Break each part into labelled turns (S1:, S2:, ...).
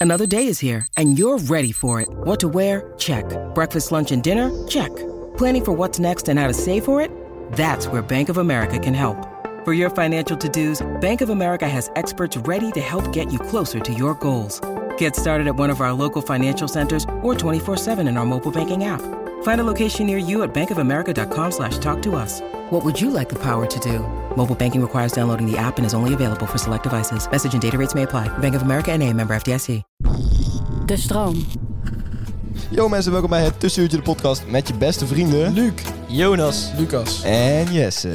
S1: Another day is here, and you're ready for it. What to wear? Check. Breakfast, lunch, and dinner? Check. Planning for what's next and how to save for it? That's where Bank of America can help. For your financial to-dos, Bank of America has experts ready to help get you closer to your goals. Get started at one of our local financial centers or 24-7 in our mobile banking app. Find a location near you at bankofamerica.com slash talk to us. What would you like the power to do? Mobile banking requires downloading the app and is only available for select devices. Message and data rates may apply. Bank of America and a member FDIC.
S2: De stroom.
S3: Yo mensen, welkom bij het Tussenuurtje de podcast met je beste vrienden... Luc, Jonas
S4: Lucas.
S3: en Jesse.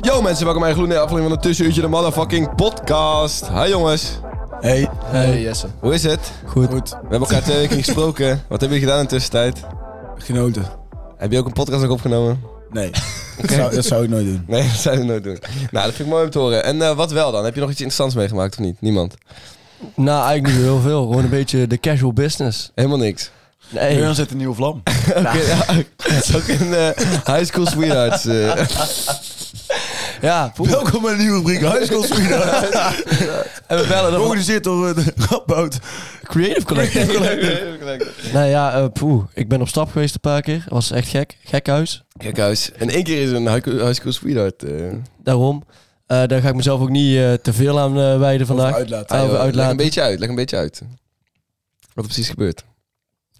S3: Yo mensen, welkom bij een gloedende aflevering van het Tussenuurtje de motherfucking podcast. Hi jongens,
S4: Hey. Hey Jesse.
S3: hoe is het?
S4: Goed. Goed.
S3: We hebben elkaar twee weken niet gesproken. Wat hebben jullie gedaan in de tussentijd?
S4: Genoten.
S3: Heb je ook een podcast nog opgenomen?
S4: Nee. dat, zou, dat zou ik nooit doen.
S3: Nee, dat zou je nooit doen. Nou, dat vind ik mooi om te horen. En eh, wat wel dan? Heb je nog iets interessants meegemaakt of niet? Niemand.
S5: Nou, eigenlijk niet heel veel. Gewoon een beetje de casual business.
S3: Helemaal niks.
S5: Nee.
S4: Jurgen zet een nieuwe vlam.
S3: Oké, ja, dat is ook een eh, high school sweethearts. eh.
S5: Ja, voel-
S4: Welkom bij een nieuwe rubriek High School Sweetheart.
S5: en we bellen dan.
S4: Georganiseerd door eh, de Radboud.
S5: Creative Collective. nou ja, eh, poeh. Ik ben op stap geweest een paar keer. Was echt gek. Gek huis.
S3: Kijk huis. En één keer is een high high school sweetheart. eh.
S5: Daarom. Eh, daar ga ik mezelf ook niet eh, te veel aan eh, wijden vandaag.
S4: uitlaten.
S5: Ah, over
S3: Leg
S5: uitlaten.
S3: een beetje uit, leg een beetje uit. Wat er precies gebeurt.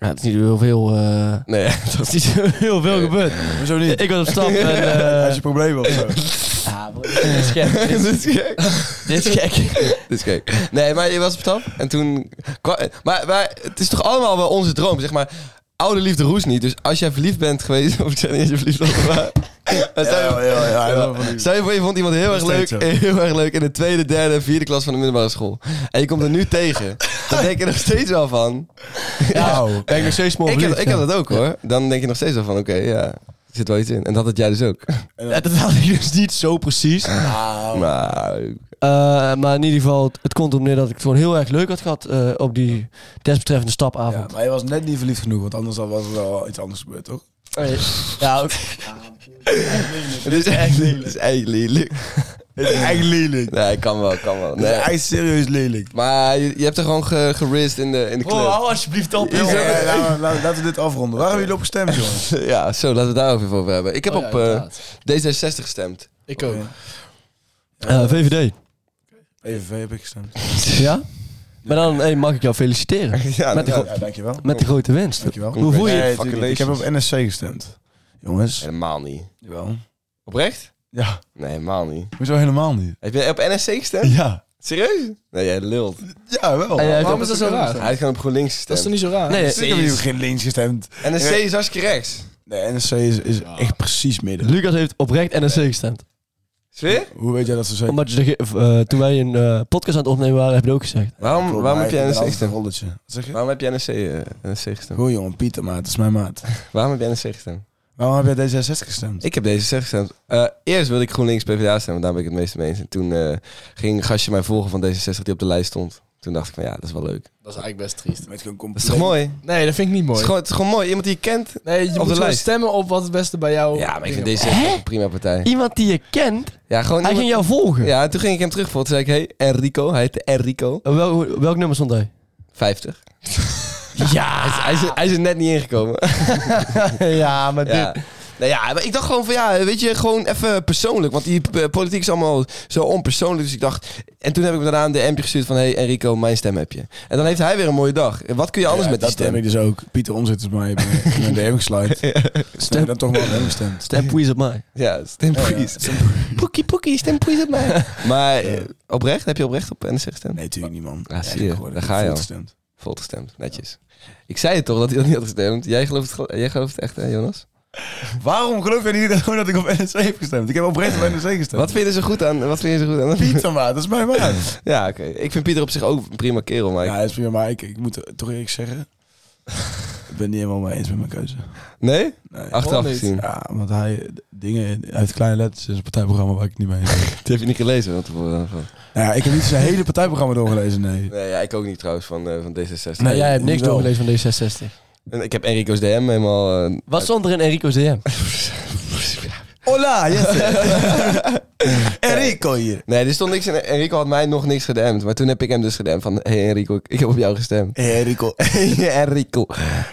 S5: Ja, het is niet heel veel. eh,
S3: Nee, dat
S5: het is niet zo heel veel gebeurd.
S4: Hoezo niet?
S5: Ik was op stap en.
S4: Als
S5: eh,
S4: je problemen of zo.
S5: ja, dit is gek.
S3: dit is gek.
S5: Dit is gek.
S3: Dit is gek. Nee, maar je was op stap en toen... kwa- Maar, maar het is toch allemaal wel onze droom, zeg maar. Oude liefde roest niet. Dus als jij verliefd bent geweest... Of ik zei niet dat je verliefd was, maar... maar stel je-
S4: Ja, ja, ja,
S3: Ja,
S4: ja.
S3: Stel je voor, je vond iemand heel erg
S4: Nog
S3: leuk,
S4: steeds zo.
S3: heel erg leuk in de tweede, derde en vierde klas van de middelbare school. En je komt er nu tegen. Dan denk je er nog steeds wel van.
S4: Nou,
S5: Ben ik nog steeds mooi.
S3: Ik heb, ik heb dat ook hoor. Dan denk je nog steeds wel van, oké, ja, er zit wel iets in. En dat had jij dus ook.
S5: Dat had ik dus niet zo precies.
S3: Maar,
S4: Nou.
S5: Eh, maar in ieder geval, het- het komt erop neer dat ik het gewoon heel erg leuk had gehad eh, op die desbetreffende
S4: Ja,
S5: stapavond.
S4: maar je was net niet verliefd genoeg, want anders was er wel iets anders gebeurd, toch?
S5: Ja, ja ook.
S3: het is echt lelijk. Het is echt lelijk.
S4: Het is echt lelijk.
S3: Nee, kan wel, kan wel.
S4: Het is
S3: Nee.
S4: echt serieus lelijk.
S3: Maar je, je hebt er gewoon ge, gerist in de, in de club.
S5: Oh, alsjeblieft op.
S4: Ja, laten we- laten- Laten we dit afronden. Waar hebben jullie op gestemd, jongens?
S3: Ja, zo, laten we het daar ook even over hebben. Ik heb op eh, D66 gestemd.
S4: Ik ook.
S5: Eh, VVD.
S4: Even heb ik gestemd.
S5: Ja? Maar dan hey, mag ik jou feliciteren
S3: Ja,
S5: Met de
S3: nou,
S5: gro-
S4: Ja, dankjewel.
S5: met de grote winst.
S4: Dankjewel.
S5: Hoe voel je je?
S4: Nee,
S3: Fucking
S4: tuurlijk. Ik heb op NSC gestemd. Jongens.
S3: helemaal niet.
S4: Jawel.
S3: Oprecht?
S4: Ja.
S3: Nee, helemaal niet.
S4: Hoezo helemaal niet?
S3: Heb je op NSC gestemd?
S4: Ja.
S3: Serieus? Nee, jij lult.
S4: Ja, wel.
S5: En jij hebt
S4: Waarom
S5: op-
S4: is dat zo raar?
S3: Hij heeft gewoon op GroenLinks gestemd.
S4: zo raar?
S5: Nee,
S4: Nee, ik heb
S3: is-
S4: hier geen links gestemd.
S3: En de C is hartstikke rechts.
S4: Nee, NSC is, is echt precies midden.
S5: Lucas heeft oprecht NSC gestemd.
S3: Sfeer?
S4: Hoe weet jij dat ze zeker?
S5: Omdat je de ge- of, eh, toen wij een eh, podcast aan het opnemen waren, heb je dat ook gezegd.
S3: Waarom,
S4: Klopt,
S3: waarom,
S4: maar
S3: heb jij
S4: ik ben
S3: NSC
S4: altijd
S3: gestemd?
S4: een rolletje. Wat zeg je?
S3: waarom heb jij NSC, eh, NSC gestemd?
S4: Goed jongen, Pieter maat, dat is mijn maat.
S3: Waarom heb jij NSC gestemd?
S4: Waarom heb jij D66 gestemd?
S3: Ik heb deze 60 gestemd. Eh, eerst wilde ik GroenLinks PvdA stemmen, daar ben ik het meest mee eens. En toen eh, ging een gastje mij volgen van D66 die op de lijst stond. Toen dacht ik van ja, dat is wel leuk.
S6: Dat is eigenlijk best triest.
S4: Met gewoon
S3: Dat
S4: compleet.
S3: is toch mooi? Het
S6: Nee, dat vind ik niet
S3: is
S6: mooi.
S3: gewoon, het is gewoon mooi. Iemand die je kent.
S6: Nee, je
S3: de
S6: moet gewoon
S3: lijst.
S6: stemmen op wat het beste bij jou...
S3: Ja, maar ik vind
S6: dingen-
S3: D66 een prima partij.
S5: Iemand die je kent,
S3: Ja, gewoon
S5: hij ging
S3: iemand-
S5: jou volgen.
S3: ja, en toen ging ik hem terugvolgen. Toen zei ik, hey, Enrico. Hij heette Enrico.
S5: Eh, Wel, welk nummer stond hij?
S3: 50. Ja, hij is, hij, is, hij is er net niet ingekomen.
S5: ja, maar
S3: Ja. Nou ja, maar ik dacht gewoon van ja, weet je, gewoon even persoonlijk. Want die eh, politiek is allemaal zo onpersoonlijk. Dus ik dacht. En toen heb ik hem daarna een DM'tje gestuurd van: hey Enrico, mijn stem heb je. En dan heeft hij weer een mooie dag. En Wat kun je anders
S4: Ja,
S3: met die
S4: dat
S3: stem?
S4: heb ik dus ook. Pieter Omzitters mij hebben in de DM gesluit. Stem dan toch maar op hem gestemd.
S5: Stem please op mij.
S3: Ja, stempoes. Poekie poekie, stempoes op mij. Maar eh, oprecht, heb je oprecht op NSC gestemd?
S4: Nee, natuurlijk niet man.
S3: Ah, zie
S4: ik heb
S3: je.
S4: gewoon
S3: Daar ga je
S4: vol
S3: al.
S4: gestemd.
S3: Vol gestemd, netjes. Ik zei het toch dat hij dat niet had gestemd. Jij gelooft het, ge- jij gelooft het echt, hè, Jonas?
S7: Waarom geloof jij niet gewoon dat ik op NSC heb gestemd? Ik heb oprecht op NSC gestemd.
S3: Wat vinden ze goed aan? Wat vinden ze goed aan?
S7: Pieter, maar dat is mijn man.
S3: Ja, oké. Ik vind Pieter op zich ook een prima kerel, maar ik-
S4: Ja, dat is prima, maar ik, ik moet toch eerlijk zeggen... Ik ben het niet helemaal mee eens met mijn keuze.
S3: Nee?
S4: Nee.
S3: Achteraf
S6: niet.
S3: gezien.
S4: Ja, want hij de dingen hij heeft kleine letters in zijn partijprogramma waar ik het niet mee eens ben.
S3: Die heb je niet gelezen eh, van tevoren. Van.
S4: nou ja, ik heb niet zijn hele partijprogramma doorgelezen, nee.
S3: Nee, ja, ik ook niet trouwens van, eh, van D66.
S5: Nee, jij hebt niks
S4: wel.
S5: doorgelezen van D66.
S3: En ik heb Enrico's DM helemaal... eh,
S5: Wat stond er in Enrico's DM?
S4: Hola, Enrico hier.
S3: Nee, er stond niks in. Enrico had mij nog niks gedemd. Maar toen heb ik hem dus gedemd van... Hé hey Enrico, ik, ik heb op jou gestemd.
S4: Enrico.
S3: Ja, Enrico.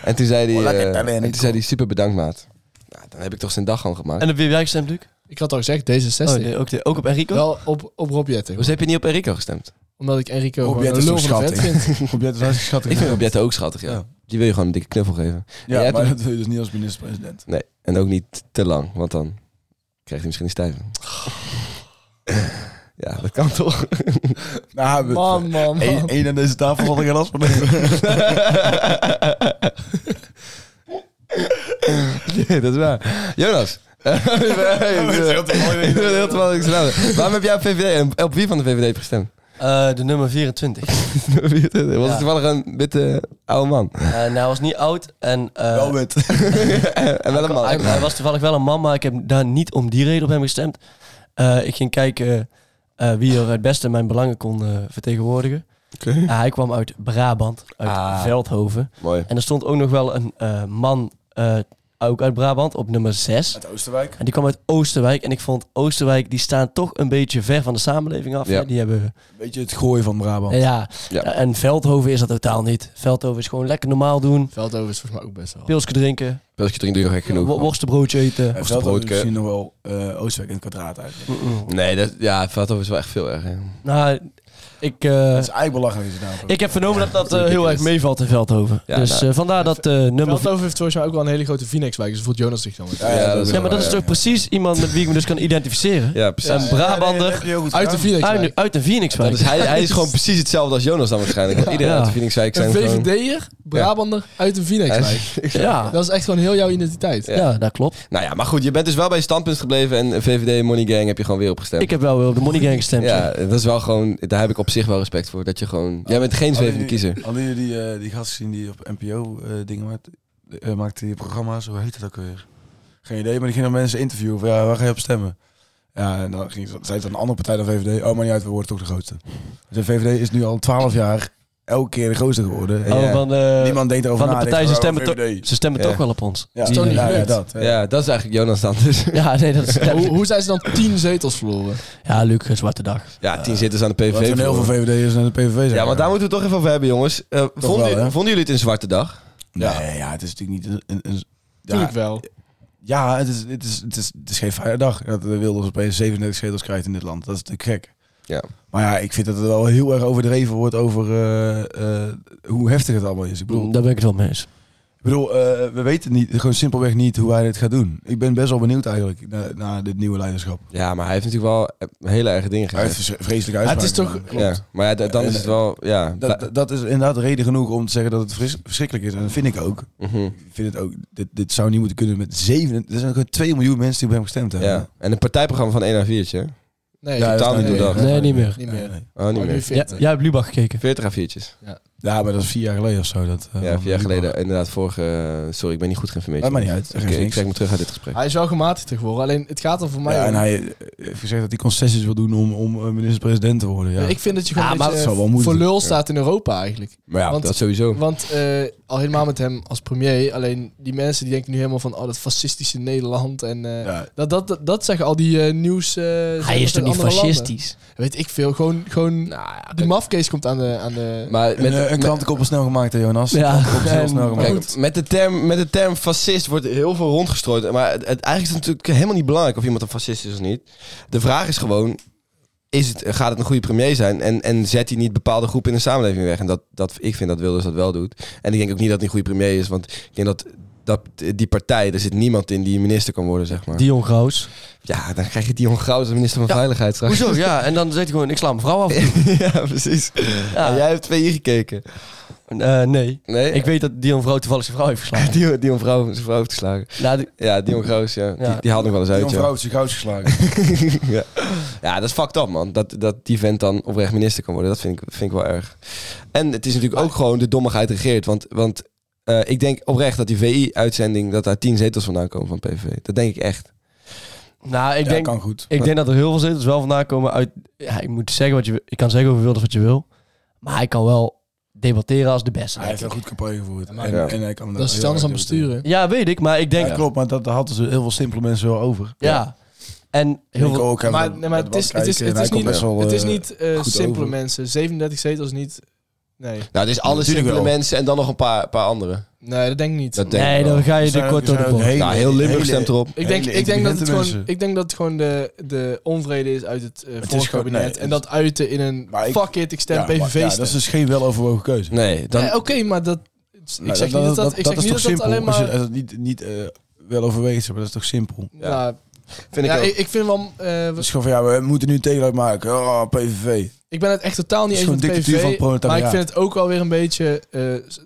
S3: En toen zei hij...
S4: Hola,
S3: eh,
S4: ¿qué tal,
S3: en
S4: Enrico?
S3: toen zei hij super bedankt maat. Nou, dan heb ik toch zijn dag gewoon gemaakt.
S5: En op wie heb jij gestemd, Luc?
S6: Ik had al gezegd, D66.
S5: Oh, nee, ook, de- ook op Enrico?
S6: Wel op, op Rob Jetten.
S3: Hoezo Dus heb je niet op Enrico gestemd?
S6: Omdat ik Enrico
S4: Rob
S6: gewoon
S4: Jetten
S6: een
S4: is
S6: lul
S4: toch
S6: van een vet
S4: schattig?
S6: vind.
S4: Probeer het hartstikke schattig.
S3: Ik vind Robjette ook schattig, ja.
S4: Ja.
S3: Die wil je gewoon een dikke knuffel geven.
S4: Ja,
S3: Jij
S4: maar
S3: hebt-
S4: dat wil je dus niet als minister-president.
S3: Nee, en ook niet te lang. Want dan krijgt hij misschien een stijven.
S4: Oh.
S3: Ja, dat kan toch?
S4: Nou, we-
S6: Man, man, man.
S4: Eén één aan deze tafel had ik geen last van.
S3: Nee, dat is waar. Jonas. Eh,
S4: heel te mooi.
S3: Ik wil heel te wel niks raden. Waarom heb jij op VVD en eh, op wie van de VVD heb je gestemd?
S5: Eh, de nummer 24.
S3: Was
S5: Ja.
S3: het toevallig een witte oude man?
S5: Eh, nou, hij was niet oud en... eh,
S4: Wel wit.
S3: en wel een man.
S5: Hij, hij was toevallig wel een man, maar ik heb daar niet om die reden op hem gestemd. Eh, ik ging kijken eh, wie er het beste mijn belangen kon eh, vertegenwoordigen. Eh, hij kwam uit Brabant, uit
S3: Ah.
S5: Veldhoven.
S3: Mooi.
S5: En er stond ook nog wel een eh, man, eh, ook uit Brabant, op nummer 6.
S4: Uit Oosterwijk.
S5: En die kwam uit Oosterwijk. En ik vond Oosterwijk, die staan toch een beetje ver van de samenleving af.
S3: Ja.
S5: hè. Die hebben
S4: Weet je, het gooien van Brabant.
S5: Ja,
S3: Ja.
S5: en Veldhoven is dat totaal niet. Veldhoven is gewoon lekker normaal doen.
S6: Veldhoven is volgens mij ook best wel.
S5: Pilsje drinken,
S3: Pilsje drinken doe je gek
S5: wo-
S3: genoeg.
S5: worstenbroodje eten.
S4: Hij
S3: Of de
S4: valt
S3: broodke.
S4: misschien nog wel eh, Oosterwijk in het kwadraat uit.
S5: Mm-mm.
S3: Nee, dat, ja, Veldhoven is wel echt veel erger.
S5: Nou, ik, eh,
S4: Dat is eigenlijk belachelijk is het
S5: ik heb vernomen dat dat eh, heel erg meevalt in Veldhoven.
S3: Ja,
S5: dus
S3: nou,
S5: eh, vandaar dat eh, nummer...
S6: Veldhoven heeft volgens mij ook wel een hele grote Phoenix-wijk. Dus voelt Jonas zich dan weer.
S4: Ja, ja, dat is
S5: Ja, maar dat is
S3: wel,
S5: toch precies iemand met wie ik me dus kan identificeren?
S3: Ja, precies.
S5: Een Brabander
S6: Uit de
S5: uit,
S4: Ah,
S6: Phoenix-wijk.
S5: uit een
S3: Dat is,
S5: Phoenixwijk.
S3: hij, hij is gewoon precies hetzelfde als Jonas dan waarschijnlijk. Want Iedereen
S5: Ja.
S3: uit de Phoenixwijk zijn
S6: Een
S3: gewoon...
S6: VVD'er, Brabander, uit de Phoenix-wijk.
S5: Ja.
S6: Dat is echt gewoon heel jouw identiteit.
S5: Ja. dat klopt.
S3: Nou ja, maar goed, je bent dus wel bij je standpunt gebleven en VVD Money Gang heb je gewoon weer opgestemd.
S5: Ik heb wel weer op de Money Gang gestemd.
S3: ja, dat is wel gewoon, daar heb ik op zich wel respect voor. Dat je gewoon, jij bent geen
S4: Hadden
S3: zwevende kiezer.
S4: jullie- Hadden jullie die, eh, die gast gezien die op NPO eh, dingen maakt, eh, maakt die programma's? Hoe heet dat ook weer? Geen idee, maar die ging dan mensen interviewen van ja, waar ga je op stemmen? Ja, en dan ging ze, zei het aan een andere partij dan VVD. Oh, maar niet uit, we worden toch de grootste. Dus de VVD is nu al 12 jaar elke keer de grootste geworden. En
S5: Oh,
S3: Ja.
S5: van de,
S4: niemand denkt erover
S5: van de
S4: na,
S5: partij, ze
S4: denkt, oh,
S5: stemmen, toch-
S4: VVD.
S5: ze stemmen
S3: Ja.
S5: toch wel op ons.
S4: Ja,
S5: Die,
S4: ja,
S5: eh,
S4: ja,
S6: gebeurd?
S4: dat. hè.
S3: Ja, dat is eigenlijk Jonas dan dus.
S5: ja, nee, dat is...
S6: Hoe, hoe zijn ze dan tien zetels verloren?
S5: Ja, Luc, een zwarte dag.
S3: Ja, tien zitters aan de
S4: Wat
S3: PVV.
S4: van heel veel VVD'ers naar de PVV zijn.
S3: Ja, maar daar moeten we het toch even over hebben, jongens. Eh, vonden,
S4: wel,
S3: jullie-
S4: hè?
S3: vonden jullie het een zwarte dag?
S4: Ja. Nee, ja, het is natuurlijk niet een... een, een ja,
S6: Tuurlijk wel.
S4: ja, het is, het, is, het, is, het is geen fijne dag. Dat de Wilders opeens 37 zetels krijgt in dit land. Dat is natuurlijk gek.
S3: Ja.
S4: Maar ja, ik vind dat het wel heel erg overdreven wordt over eh, eh, hoe heftig het allemaal is. Ik bedoel,
S5: Daar ben ik het wel mee eens.
S4: ik bedoel eh, we weten niet, gewoon simpelweg niet hoe hij dit gaat doen. Ik ben best wel benieuwd eigenlijk naar, naar dit nieuwe leiderschap.
S3: Ja, maar hij heeft natuurlijk wel eh, hele erge dingen
S4: Hij heeft
S3: gezegd.
S4: vres- vreselijke
S6: Ja,
S4: uitspraken.
S6: het is toch...
S4: gedaan.
S3: Ja, maar ja, d- dan is het wel, ja.
S4: eh, Dat, dat- dat is inderdaad reden genoeg om te zeggen dat het vres- verschrikkelijk is. En dat vind ik ook.
S3: Mhm.
S4: Ik vind het ook, dit, dit zou niet moeten kunnen met zeven... Er zijn gewoon 2 miljoen mensen die op hem gestemd hebben.
S3: ja. En een partijprogramma van 1 à 4'tje. hè?
S6: Nee,
S4: Ja,
S3: totaal
S4: dat is-
S3: niet doordacht.
S5: Nee, niet meer.
S6: Niet meer.
S3: Oh, niet
S6: Maar nu
S3: meer.
S6: 40.
S5: Jij hebt Lubach gekeken.
S3: 40 à 4'tjes.
S4: Ja, maar dat is vier jaar geleden of zo. Dat, eh,
S3: Ja, vier jaar geleden. Inderdaad, vorige... eh, Sorry, ik ben niet goed geïnformeerd.
S4: Maakt maar niet
S3: jongens.
S4: uit. dat
S3: Oké,
S4: geeft
S3: ik
S4: niks.
S3: trek me terug uit dit gesprek.
S6: Hij is wel gematigd geworden. Alleen het gaat er voor mij
S4: Ja, en
S6: om.
S4: hij eh, heeft gezegd dat hij concessies wil doen om, om eh, minister-president te worden. Ja.
S6: Ik vind dat je gewoon
S4: Ja,
S6: een
S4: maar
S6: beetje,
S4: dat zou wel
S6: eh,
S4: moeten.
S6: voor lul staat in Europa eigenlijk.
S3: Maar ja,
S6: Want-
S3: dat sowieso.
S6: Want eh, al helemaal met hem als premier. Alleen die mensen die denken nu helemaal van... Oh, dat fascistische Nederland. En eh,
S4: ja.
S6: dat, dat, dat, dat zeggen al die eh, nieuws... eh,
S5: Hij
S6: zenders
S5: is toch
S6: uit
S5: niet
S6: andere landen.
S5: fascistisch?
S6: Weet ik veel. Gewoon... gewoon
S4: Nou,
S6: die mafkees komt aan de... Aan de
S3: Maar met,
S4: Met, eh, een,
S3: met-
S4: krantenkoppel snel gemaakt, hè, Jonas.
S5: Ja.
S4: Een krantenkoppel heel
S5: En-
S4: snel gemaakt.
S3: Kijk, met de, term, met de term fascist wordt heel veel rondgestrooid. Maar het, het- eigenlijk is het natuurlijk helemaal niet belangrijk of iemand een fascist is of niet. De vraag is gewoon, is het, gaat het een goede premier zijn? En, en zet hij niet bepaalde groepen in de samenleving weg? En dat, dat, ik vind dat Wilders dat wel doet. En ik denk ook niet dat hij een goede premier is. Want ik denk dat dat, die partij, er zit niemand in die minister kan worden, zeg maar.
S5: Dion Graus.
S3: Ja, dan krijg je Dion Graus als minister van
S5: Ja.
S3: Veiligheid straks.
S5: Hoezo? Ja, en dan zegt hij gewoon, ik sla mijn vrouw af.
S3: ja, precies.
S5: Ja.
S3: En jij hebt twee hier gekeken.
S5: Eh, nee.
S3: Nee?
S5: Ik weet dat Dion Vrouw toevallig zijn vrouw heeft geslagen.
S3: Dion, Dion Vrouw, zijn vrouw heeft geslagen.
S5: Nou, die-
S3: Ja, Dion Graus, ja.
S5: Ja.
S3: Die, die haalt nog wel eens uit,
S4: Jan
S3: joh.
S4: Vrouw heeft zich goud geslagen.
S3: ja. ja, dat is fucked up, man. Dat, dat die vent dan oprecht minister kan worden. Dat vind ik, vind ik wel erg. En het is natuurlijk ook gewoon de dommigheid regeert. Want, want eh, ik denk oprecht dat die VI-uitzending... dat daar tien zetels vandaan komen van PVV. Dat denk ik echt.
S5: nou, ik
S4: Ja,
S5: denk...
S4: kan goed.
S5: Ik denk dat er heel veel zetels wel vandaan komen uit... Ja, ik moet zeggen wat je... Ik kan zeggen over Wilders wat je wil. Maar hij kan wel debatteren als de beste.
S4: Hij heeft wel goed campagne gevoerd. En,
S3: Ja.
S4: en hij kan
S6: Dat is iets
S4: heel
S6: anders dan
S4: erg
S6: besturen.
S5: Ja, weet ik. Maar ik
S4: Ja,
S5: denk... Ja.
S4: klopt, maar dat, dat hadden ze heel veel simpele mensen wel over.
S5: En heel
S4: Ik
S5: veel...
S4: ook, hè,
S6: Maar,
S4: met-
S6: nee, maar
S4: met
S6: het is, het
S4: Wankijk,
S6: is, het
S4: en hij
S6: is
S4: komt
S6: niet,
S4: best wel,
S6: het is
S4: eh,
S6: niet eh,
S4: goed
S6: simpele
S4: over.
S6: mensen. 37 zetels niet. Nee,
S3: Nou, het is alle
S4: Natuurlijk
S3: simpele
S4: wel.
S3: mensen en dan nog een paar, paar anderen.
S6: nee dat denk ik niet.
S3: Dat denk
S5: Nee,
S3: ik wel.
S5: dan ga je
S4: Er zijn
S5: de
S4: ook-
S5: kort
S4: er
S5: door de
S4: zijn
S5: bocht.
S4: ook hele-
S3: Ja, heel Limburg
S4: hele-
S3: stemt erop.
S6: ik, denk,
S4: hele
S6: ik, denk dat het
S4: intelligente
S6: gewoon,
S4: mensen.
S6: ik denk dat het gewoon de, de onvrede is uit het, eh vorige
S4: is gewoon-
S6: kabinet.
S4: nee,
S6: en dat uiten in een
S4: Maar ik-
S6: fuck it, ik stem
S4: Ja, maar-
S6: PVV
S4: ja,
S6: stem.
S4: dat is dus geen weloverwogen keuze.
S3: Nee, dan,
S6: Nee, Eh, Oké, maar dat... Ik
S4: Nou,
S6: zeg niet dat dat, ik zeg
S4: is
S6: niet
S4: toch
S6: dat, dat
S4: simpel.
S6: alleen
S4: Als je-
S6: maar...
S4: als het niet, niet eh, wel overwegend is, maar dat is toch simpel.
S3: ja.
S6: Nou,
S3: vind ik
S6: ja,
S3: ook.
S6: ik, ik vind wel... eh,
S4: Dat is gewoon van, ja, we moeten nu een tegeluid maken. Oh, PVV.
S6: ik ben het echt totaal niet
S4: Het
S6: eens
S4: is
S6: met
S4: gewoon dictatuur van
S6: PVV.
S4: het proletariaat.
S6: maar ik vind het ook wel weer een beetje eh, s-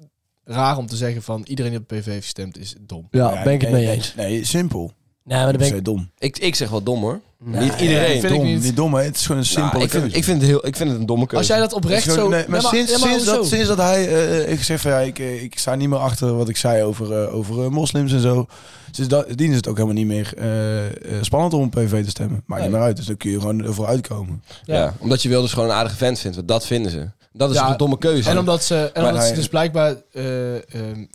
S6: raar om te zeggen van... iedereen die op PVV heeft gestemd is dom.
S5: Ja, ben ik het
S4: nee,
S5: mee eens.
S4: Nee, nee, simpel.
S5: Nee, maar dan ben
S4: Dat
S5: ik...
S4: is dom.
S3: ik, ik zeg wel dom, hoor.
S5: Nee.
S3: niet iedereen.
S6: vind ik
S4: dom,
S6: niet.
S4: niet dom, hè. Het is gewoon een
S3: Nou,
S4: simpele
S3: ik, vind,
S4: keuze.
S3: ik, vind het heel, ik vind het een domme keuze.
S6: Als jij dat
S4: Het is
S6: oprecht
S4: gewoon-
S6: zo...
S4: nee, maar
S6: Nee,
S4: sinds,
S6: nee, maar
S4: sinds, dat,
S6: hoezo?
S4: sinds dat hij... eh, ik zeg van, ja, ik, eh, ik sta niet meer achter wat ik zei over, eh, over eh, moslims en zo. Dus dat, dien is het ook helemaal niet meer eh, eh, spannend om op PVV te stemmen. Maakt niet
S6: Nee.
S4: meer uit. Dus dan kun je gewoon ervoor uitkomen.
S3: Ja.
S6: Ja.
S3: omdat je Wilders gewoon een aardige vent vindt. Want dat vinden ze. Dat is
S6: Ja,
S3: een domme keuze.
S6: En omdat ze, en
S3: Maar
S6: omdat ze
S3: hij-
S6: dus blijkbaar eh, eh,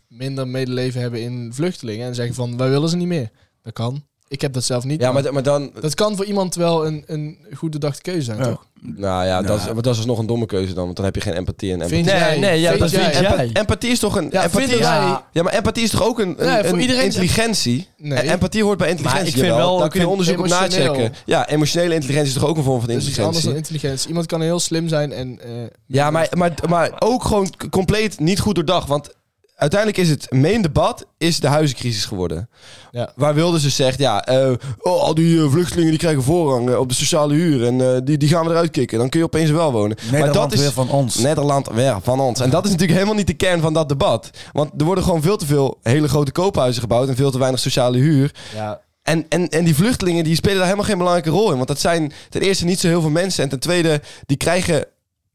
S6: minder medeleven hebben in vluchtelingen. En zeggen van, wij willen ze niet meer. Dat kan. Ik heb dat zelf niet.
S3: ja, maar, maar dan...
S6: dat kan voor iemand wel een, een goed bedachte keuze zijn,
S4: Ja.
S6: toch?
S3: Nou ja, Dat, is, maar dat is nog een domme keuze dan. Want dan heb je geen empathie. En empathie,
S6: Vind
S5: Nee,
S6: jij?
S5: nee, ja, dat vind
S6: jij?
S5: jij.
S3: Empa- empathie is toch een...
S6: Ja,
S3: empathie
S6: vinden
S3: is-
S6: wij-
S3: ja. maar empathie is toch ook een, een,
S6: Ja, voor
S3: een
S6: iedereen is-
S3: intelligentie?
S6: Nee.
S3: En empathie hoort bij intelligentie.
S5: Maar ik vind
S3: jawel.
S5: wel-
S3: Daar
S5: ik
S3: kun je
S5: vind
S3: onderzoek op
S6: emotioneel.
S3: nachecken. Ja, emotionele intelligentie is toch ook een vorm van
S6: Dat is Dus iets anders
S3: intelligentie?
S6: dan intelligentie. Iemand kan heel slim zijn en... eh,
S3: Ja, maar, maar, maar ook gewoon k- compleet niet goed doordacht. Want uiteindelijk is het meendebat is de huizencrisis geworden.
S6: Ja.
S3: Waar Wilders dus zegt, ja, eh, oh, al die eh, vluchtelingen die krijgen voorrang eh, op de sociale huur. En eh, die, die gaan we eruit kicken. Dan kun je opeens wel wonen. maar
S4: Nederland
S3: dat is
S4: weer van ons.
S3: Nederland weer van ons. En dat is natuurlijk helemaal niet de kern van dat debat. Want er worden gewoon veel te veel hele grote koophuizen gebouwd en veel te weinig sociale huur.
S6: ja.
S3: En, en, en die vluchtelingen die spelen daar helemaal geen belangrijke rol in. Want dat zijn ten eerste niet zo heel veel mensen. En ten tweede, die krijgen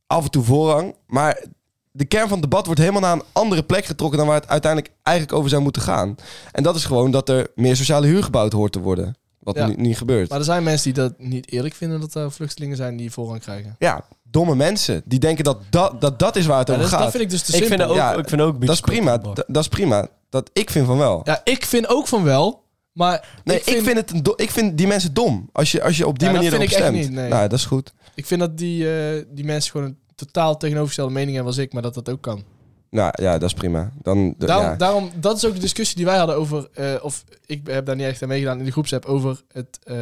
S3: af en toe voorrang. Maar de kern van het debat wordt helemaal naar een andere plek getrokken dan waar het uiteindelijk eigenlijk over zou moeten gaan. En dat is gewoon dat er meer sociale huur gebouwd hoort te worden. Wat
S6: Ja.
S3: nu niet gebeurt.
S6: Maar er zijn mensen die dat niet eerlijk vinden dat er vluchtelingen zijn die voorrang krijgen.
S3: Ja, domme mensen. Die denken dat dat, dat, dat is waar het
S6: Ja,
S3: over
S6: dat,
S3: gaat.
S6: dat vind ik dus te
S5: Ik
S6: simpel.
S5: vind ook,
S3: Ja,
S5: ik vind ook een
S3: dat is
S5: beetje
S3: prima.
S5: kort door de bocht.
S3: Dat, dat is prima. Dat, ik vind van wel.
S6: Ja, ik vind ook van wel, maar
S3: nee,
S6: ik, vind, ik, vind...
S3: het een do- ik vind die mensen dom. Als je, als je op die
S6: Ja, dat
S3: manier
S6: vind
S3: erop
S6: ik echt
S3: stemt.
S6: niet, nee.
S3: Nou, dat is goed.
S6: dat die, eh, die mensen gewoon een totaal tegenovergestelde mening hebben als ik, maar dat dat ook kan.
S3: Nou ja, dat is prima. Dan, d-
S6: Daarom,
S3: ja.
S6: daarom, dat is ook de discussie die wij hadden over, eh, of ik heb daar niet echt aan meegedaan in de groepsapp, over het eh,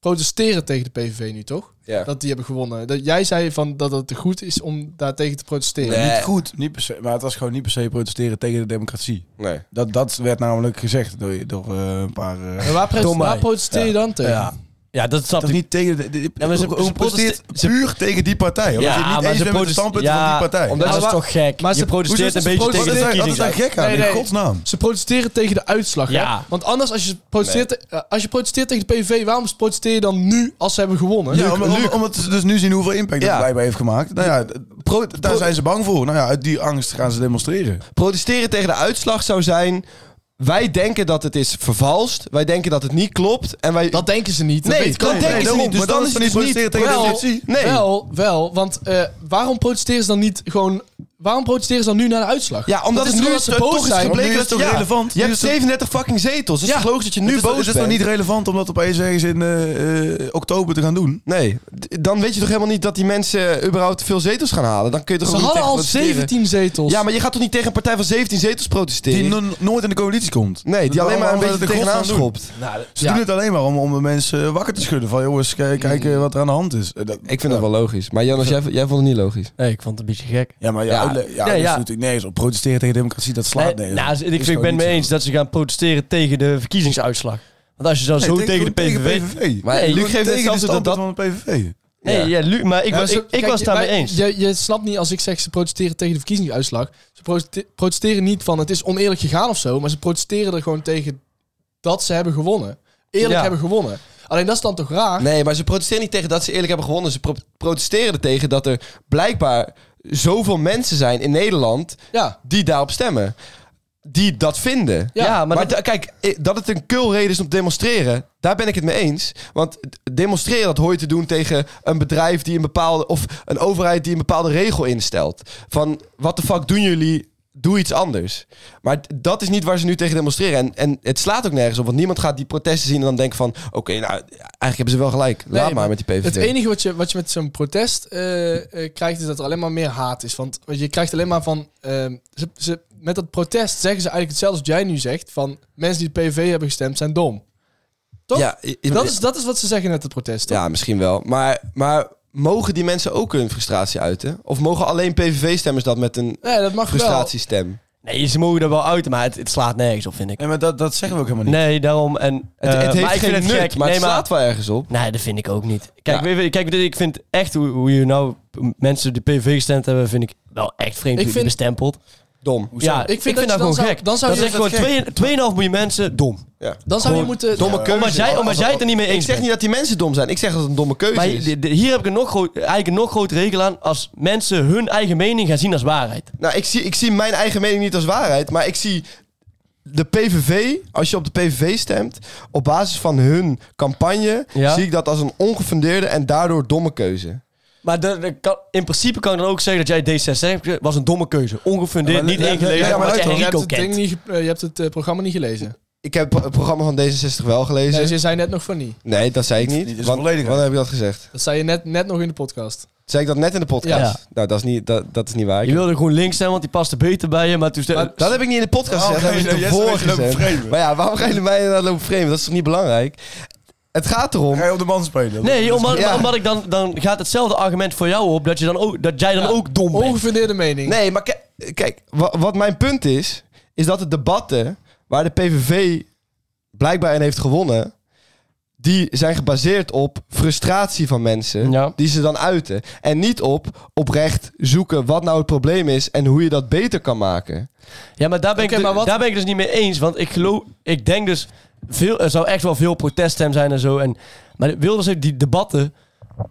S6: protesteren tegen de PVV nu, toch?
S3: Ja.
S6: Dat die hebben gewonnen. Dat, jij zei van dat het goed is om daartegen te protesteren.
S3: Nee.
S4: Niet goed, niet per se, maar het was gewoon niet per se protesteren tegen de democratie.
S3: Nee.
S4: Dat, dat werd namelijk gezegd door, door eh, een paar... eh,
S6: En waar, protest-
S5: Dom mij.
S6: waar protesteer je dan tegen?
S5: Ja. ja, dat snap
S4: dat
S5: ik.
S4: niet tegen de... de, de-
S5: Ja, maar ze- ze
S4: protesteert
S5: proteste-
S4: puur tegen die partij. Omdat
S5: Ja,
S4: je het
S5: maar
S4: niet eens
S5: ze
S4: bent met de
S5: proteste-
S4: standpunten
S5: ja,
S4: van die partij.
S5: Omdat
S6: Ja,
S5: dat is
S6: maar-
S5: toch gek.
S6: maar
S5: je
S6: ze-
S4: Hoezo
S5: protesteert
S4: is
S5: een
S4: dat-
S5: beetje
S4: wat is
S5: tegen de
S4: daar- Wat is daar
S5: verkiezingen.
S4: gek aan,
S6: Nee,
S4: in
S6: nee.
S4: godsnaam?
S6: Ze protesteren tegen de uitslag.
S5: Ja.
S6: Hè? Want anders, als je, protesteert, eh, als je protesteert tegen de PVV, waarom protesteer je dan nu als ze hebben gewonnen?
S4: Ja, om- om- omdat ze dus nu zien hoeveel impact
S3: Ja.
S4: dat blijkbaar heeft gemaakt. Nou ja, d- daar
S3: pro-
S4: zijn ze bang voor. Nou ja, uit die angst gaan ze demonstreren.
S3: Protesteren tegen de uitslag zou zijn... Wij denken dat het is vervalst. Wij denken dat het niet klopt. En wij...
S6: Dat denken ze niet.
S3: nee,
S6: dat weet ik
S3: dat
S6: ook.
S3: denken ze
S4: daarom.
S3: niet. Dus
S4: Maar
S3: dan,
S4: dan
S3: is
S4: is
S3: het
S4: het
S3: dus
S4: niet
S3: niet...
S4: protesteren tegen de
S3: wel-
S4: democratie.
S3: Nee.
S6: Wel, wel, want eh, waarom protesteren ze dan niet gewoon... Waarom protesteren ze dan nu naar de uitslag?
S3: Ja, omdat
S6: Dat is
S3: het nu
S6: toch
S3: is
S6: dat ze
S3: toch
S6: boos
S3: is
S6: zijn?
S3: gebleken
S4: Want nu
S3: dat
S4: is het toch
S3: ja,
S4: relevant?
S3: Je
S4: Nu
S3: hebt
S4: is het-
S3: 37 fucking zetels. Het is
S6: Ja.
S3: toch logisch dat je nu
S4: het is,
S3: boos
S4: het is toch
S3: bent?
S4: niet relevant om dat opeens ergens in eh, eh, oktober te gaan doen?
S3: Nee, D- dan weet je toch helemaal niet dat die mensen überhaupt veel zetels gaan halen. Dan kun je toch
S6: Ze
S3: ook niet
S6: hadden
S3: tegen
S6: al
S3: protesteren?
S6: 17 zetels.
S3: Ja, maar je gaat toch niet tegen een partij van 17 zetels protesteren?
S4: Die no- nooit in de coalitie komt.
S3: nee, die
S4: Dat
S3: alleen maar een
S4: waarom
S3: beetje
S4: dat in
S3: tegenaan
S4: godsnaam doen?
S3: schopt.
S4: Ze
S6: Ja.
S4: doen het alleen maar om, om de mensen wakker te schudden. Van jongens, kijk, kijk eh, wat er aan de hand is. Eh, dat-
S3: Ik vind dat wel logisch. Maar Jan, jij, jij vond het niet logisch.
S5: Nee, ik vond het een beetje gek.
S4: Ja, maar ja,
S3: Ja,
S4: ook le- ja,
S5: Nee,
S4: dat
S5: ja.
S4: is natuurlijk nergens op. Protesteren tegen democratie, dat slaat
S5: Nee,
S4: nergens
S5: nou,
S4: op.
S5: ze-
S4: Is
S5: ik, ik
S4: gewoon
S5: ben
S4: niet
S5: mee
S4: zo.
S5: eens dat ze gaan protesteren tegen de verkiezingsuitslag. Want als je dan zo
S4: Nee,
S5: tegen de PVV...
S3: Maar
S5: Nee,
S3: Luc geeft het
S4: Tegen de
S3: zelfs dat dat...
S4: standpunt van de PVV.
S5: Nee, ja. Lu, maar ik, was, ik, ik was het daarmee eens.
S6: Je, je snapt niet als ik zeg ze protesteren tegen de verkiezingsuitslag. Ze prote- protesteren niet van het is oneerlijk gegaan of zo. Maar ze protesteren er gewoon tegen dat ze hebben gewonnen. Eerlijk
S5: Ja.
S6: hebben gewonnen. Alleen dat is dan toch raar?
S3: Nee, maar ze protesteren niet tegen dat ze eerlijk hebben gewonnen. Ze pro- protesteren er tegen dat er blijkbaar zoveel mensen zijn in Nederland
S6: Ja.
S3: die daarop stemmen. Die dat vinden.
S6: Ja,
S5: Ja, maar
S3: maar
S5: dat-
S3: da- kijk, eh, dat het een kulreden is om te demonstreren, daar ben ik het mee eens. Want demonstreren, dat hoor je te doen tegen een bedrijf die een bepaalde... of een overheid die een bepaalde regel instelt. Van, wat de fuck doen jullie? Doe iets anders. Maar d- dat is niet waar ze nu tegen demonstreren. En, en het slaat ook nergens op, want niemand gaat die protesten zien... en dan denken van, oké, nou, eigenlijk hebben ze wel gelijk. Laat maar
S6: Nee, maar
S3: met die PVV.
S6: Het enige wat je, wat je met zo'n protest eh, eh, krijgt, is dat er alleen maar meer haat is. Want want je krijgt alleen maar van. ehm, ze, ze, met dat protest zeggen ze eigenlijk hetzelfde als jij nu zegt: van mensen die de PV hebben gestemd zijn dom. Toch?
S3: Ja, i- i-
S6: dat, is, dat is wat ze zeggen met het protest. toch?
S3: ja, misschien wel. Maar, maar mogen die mensen ook hun frustratie uiten? Of mogen alleen PVV-stemmers dat met een
S6: Nee, dat mag
S3: frustratiestem?
S5: Nee, ze mogen er wel uit, maar het, het slaat nergens op, vind ik.
S4: Nee, maar dat, dat zeggen we ook helemaal niet.
S5: Nee, daarom. En,
S3: Het,
S5: eh,
S3: het heeft
S5: maar ik
S3: geen
S5: vind
S3: nut,
S5: gek.
S3: maar
S5: nee,
S3: het slaat wel ergens op.
S5: Nee, dat vind ik ook niet. Kijk,
S3: Ja.
S5: weet je- kijk ik vind echt hoe, hoe je nou mensen die PV gestemd hebben, vind ik wel echt vreemd
S6: Ik
S5: hoe je
S6: vind-
S5: bestempeld.
S3: Dom.
S5: Ja,
S6: Ik vind dat je dan
S5: gewoon
S6: zou-
S5: gek.
S6: dan zou
S5: dat
S6: je
S5: is
S6: dat
S5: gewoon 2,5 miljoen mensen dom.
S6: Dan zou je moeten.
S3: Domme keuze.
S5: Omdat jij, omdat jij het er niet mee
S3: Ik
S5: eens
S3: zeg
S5: bent.
S3: niet dat die mensen dom zijn. Ik zeg dat het een domme keuze
S5: Maar
S3: is.
S5: de- de- hier heb ik een nog groot, eigenlijk een nog grotere regel aan als mensen hun eigen mening gaan zien als waarheid.
S3: Nou, ik zie, ik zie mijn eigen mening niet als waarheid. Maar ik zie de PVV, als je op de PVV stemt... op basis van hun campagne...
S5: Ja.
S3: zie ik dat als een ongefundeerde en daardoor domme keuze.
S5: Maar de, de kan, in principe kan ik dan ook zeggen dat jij D66 was een domme keuze. Ongefundeerd,
S4: Ja, maar
S5: niet
S4: le- le-
S5: ingelezen,
S4: le-
S5: ja,
S4: le-
S5: maar
S4: le-
S5: je
S4: le-
S6: je, hebt
S5: Enrico
S6: het ding
S5: kent.
S6: niet, ge- eh, je hebt het eh, programma niet gelezen.
S3: Ik heb het programma van D66 wel gelezen.
S6: Nee, je zei net nog van niet.
S3: Nee, dat zei ik
S4: Niet-
S3: niet.
S4: niet is
S3: want,
S4: volledig.
S3: wanneer heb ik dat gezegd?
S6: Dat zei je net, net nog in de podcast.
S3: Zei ik dat net in de podcast? Nou, dat is niet, dat, dat is niet waar. Ik-
S5: Je wilde gewoon links zijn, want die paste beter bij je. Maar Oh, toen
S3: Maar Eh, dat heb ik niet in de podcast gezegd.
S4: oké,
S3: dat heb ik
S4: Jesse,
S3: ervoor
S4: weet je, lopen
S3: gezegd.
S4: framen.
S3: Maar ja, waarom gaan jullie mij inderdaad lopen framen? Dat is toch niet belangrijk? Het gaat erom...
S4: Ga je op de man spelen?
S5: Nee, omdat,
S3: Ja.
S5: omdat ik dan, dan gaat hetzelfde argument voor jou op dat, je dan ook, dat jij dan
S6: Ja,
S5: ook dom bent.
S6: Ongefundeerde mening.
S3: Oh, Nee, maar ki- kijk, wa- wat mijn punt is, is dat de debatten waar de PVV blijkbaar in heeft gewonnen, die zijn gebaseerd op frustratie van mensen
S5: Ja.
S3: die ze dan uiten. En niet op oprecht zoeken wat nou het probleem is en hoe je dat beter kan maken.
S5: Ja, maar daar ben,
S6: Oké,
S5: ik,
S6: maar
S5: dus-
S6: wat-
S5: daar ben ik dus niet mee eens. Want ik geloof, ik denk dus, veel, er zou echt wel veel proteststem zijn en zo. En, maar Wilders heeft die debatten,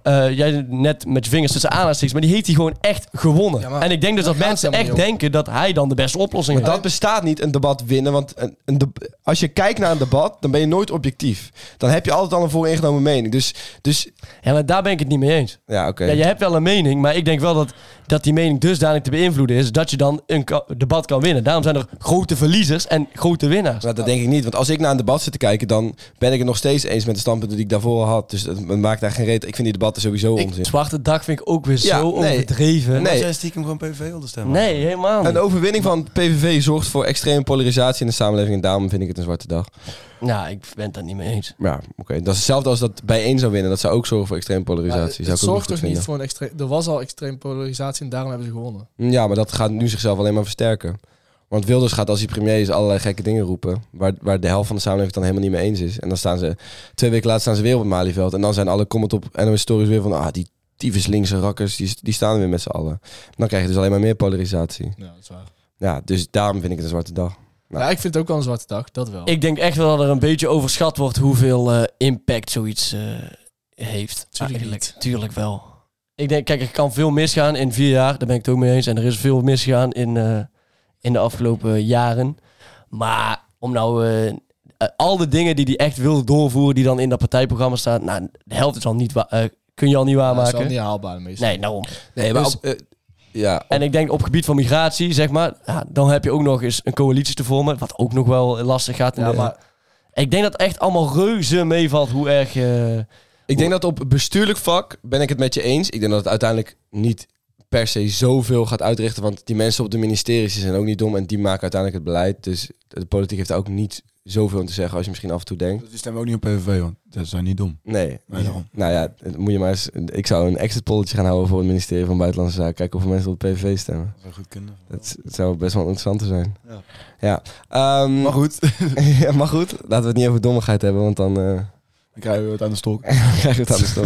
S5: eh, jij net met je vingers tussen aanhalingstekens, maar die heeft hij gewoon echt gewonnen.
S6: Ja, maar
S5: en ik denk dus dat
S6: gaat
S5: mensen
S6: het
S5: echt
S6: helemaal
S5: denken dat hij dan de beste oplossing heeft.
S3: Dat bestaat niet, een debat winnen. Want een, een deb- als je kijkt naar een debat, dan ben je nooit objectief. Dan heb je altijd al een vooringenomen mening. Dus, dus
S5: Ja, maar daar ben ik het niet mee eens.
S3: ja, oké.
S5: Ja, je hebt wel een mening, maar ik denk wel dat, dat die mening dusdanig te beïnvloeden is dat je dan een ka- debat kan winnen. Daarom zijn er grote verliezers en grote winnaars.
S3: Nou, dat denk ik niet. Want als ik naar een debat zit te kijken, dan ben ik het nog steeds eens met de standpunten die ik daarvoor had. Dus dat maakt daar geen reet. Ik vind die debatten sowieso
S5: Ik,
S3: onzin.
S5: Zwarte dag vind ik ook weer
S3: Ja,
S5: zo
S3: nee.
S5: overdreven.
S3: Nee.
S4: Jij stiekem gewoon PVV wilde stemmen.
S5: Nee, helemaal niet.
S3: Een overwinning van PVV zorgt voor extreme polarisatie in de samenleving. En daarom vind ik het een zwarte dag.
S5: Nou, ik ben het daar niet mee eens.
S3: Ja, oké. Dat is hetzelfde als dat bij één zou winnen. Dat zou ook zorgen voor extreme
S6: Ja,
S3: polarisatie.
S6: het
S3: zou ik ook
S6: zorgt
S3: goed
S6: toch niet
S3: vinden.
S6: voor een extreem. Er was al extreem polarisatie en daarom hebben ze gewonnen.
S3: Ja, maar dat gaat nu zichzelf alleen maar versterken. Want Wilders gaat als hij premier is allerlei gekke dingen roepen. Waar, waar de helft van de samenleving het dan helemaal niet mee eens is. En dan staan ze, twee weken later staan ze weer op het Malieveld. En dan zijn alle comment op NOS Stories weer van... Ah, die tyfus linkse rakkers, die, die staan er weer met z'n allen. Dan krijg je dus alleen maar meer polarisatie.
S6: Ja, dat is waar.
S3: Ja, dus daarom vind ik het een zwarte dag.
S4: Nou.
S6: Ja, ik vind het ook wel een zwarte dag, dat wel.
S5: Ik denk echt wel dat er een beetje overschat wordt hoeveel eh, impact zoiets eh, heeft. Ah,
S6: Tuurlijk niet.
S5: Tuurlijk wel. Ik denk, kijk, er kan veel misgaan in vier jaar. Daar ben ik het ook mee eens. En er is veel misgegaan in, eh, in de afgelopen jaren. Maar om nou eh, eh, al de dingen die hij echt wilde doorvoeren, die dan in dat partijprogramma staan, nou, de helft is al niet wa- eh, kun je al niet
S6: Ja, dat is wel
S5: waarmaken.
S6: niet haalbaar meestal.
S5: nee, nou Dus daarom.
S3: Nee,
S5: maar
S3: Dus, eh, ja, op-
S5: En ik denk op gebied van migratie, zeg maar, ja, dan heb je ook nog eens een coalitie te vormen, wat ook nog wel lastig gaat.
S6: Ja, maar
S5: Ik denk dat echt allemaal reuze meevalt hoe erg... eh,
S3: ik denk dat op bestuurlijk vak ben ik het met je eens. Ik denk dat het uiteindelijk niet per se zoveel gaat uitrichten. Want die mensen op de ministeries die zijn ook niet dom en die maken uiteindelijk het beleid. Dus de politiek heeft daar ook niet zoveel aan te zeggen als je misschien af en toe denkt.
S4: Dus die stemmen ook niet op PVV, want ze zijn niet dom.
S3: Nee.
S4: Nee, daarom.
S3: Nou ja, het- moet je maar eens. Ik zou een exit polletje gaan houden voor het ministerie van Buitenlandse Zaken. Kijken hoeveel mensen op de PVV stemmen.
S4: Dat zou goed kunnen.
S3: Dat z- zou best wel interessant te zijn.
S4: Ja.
S3: Ja. ehm,
S4: Maar goed,
S3: ja, maar goed, laten we het niet over dommigheid hebben, want dan eh,
S4: dan krijgen we het aan de stok.
S3: krijgen we het aan de stok.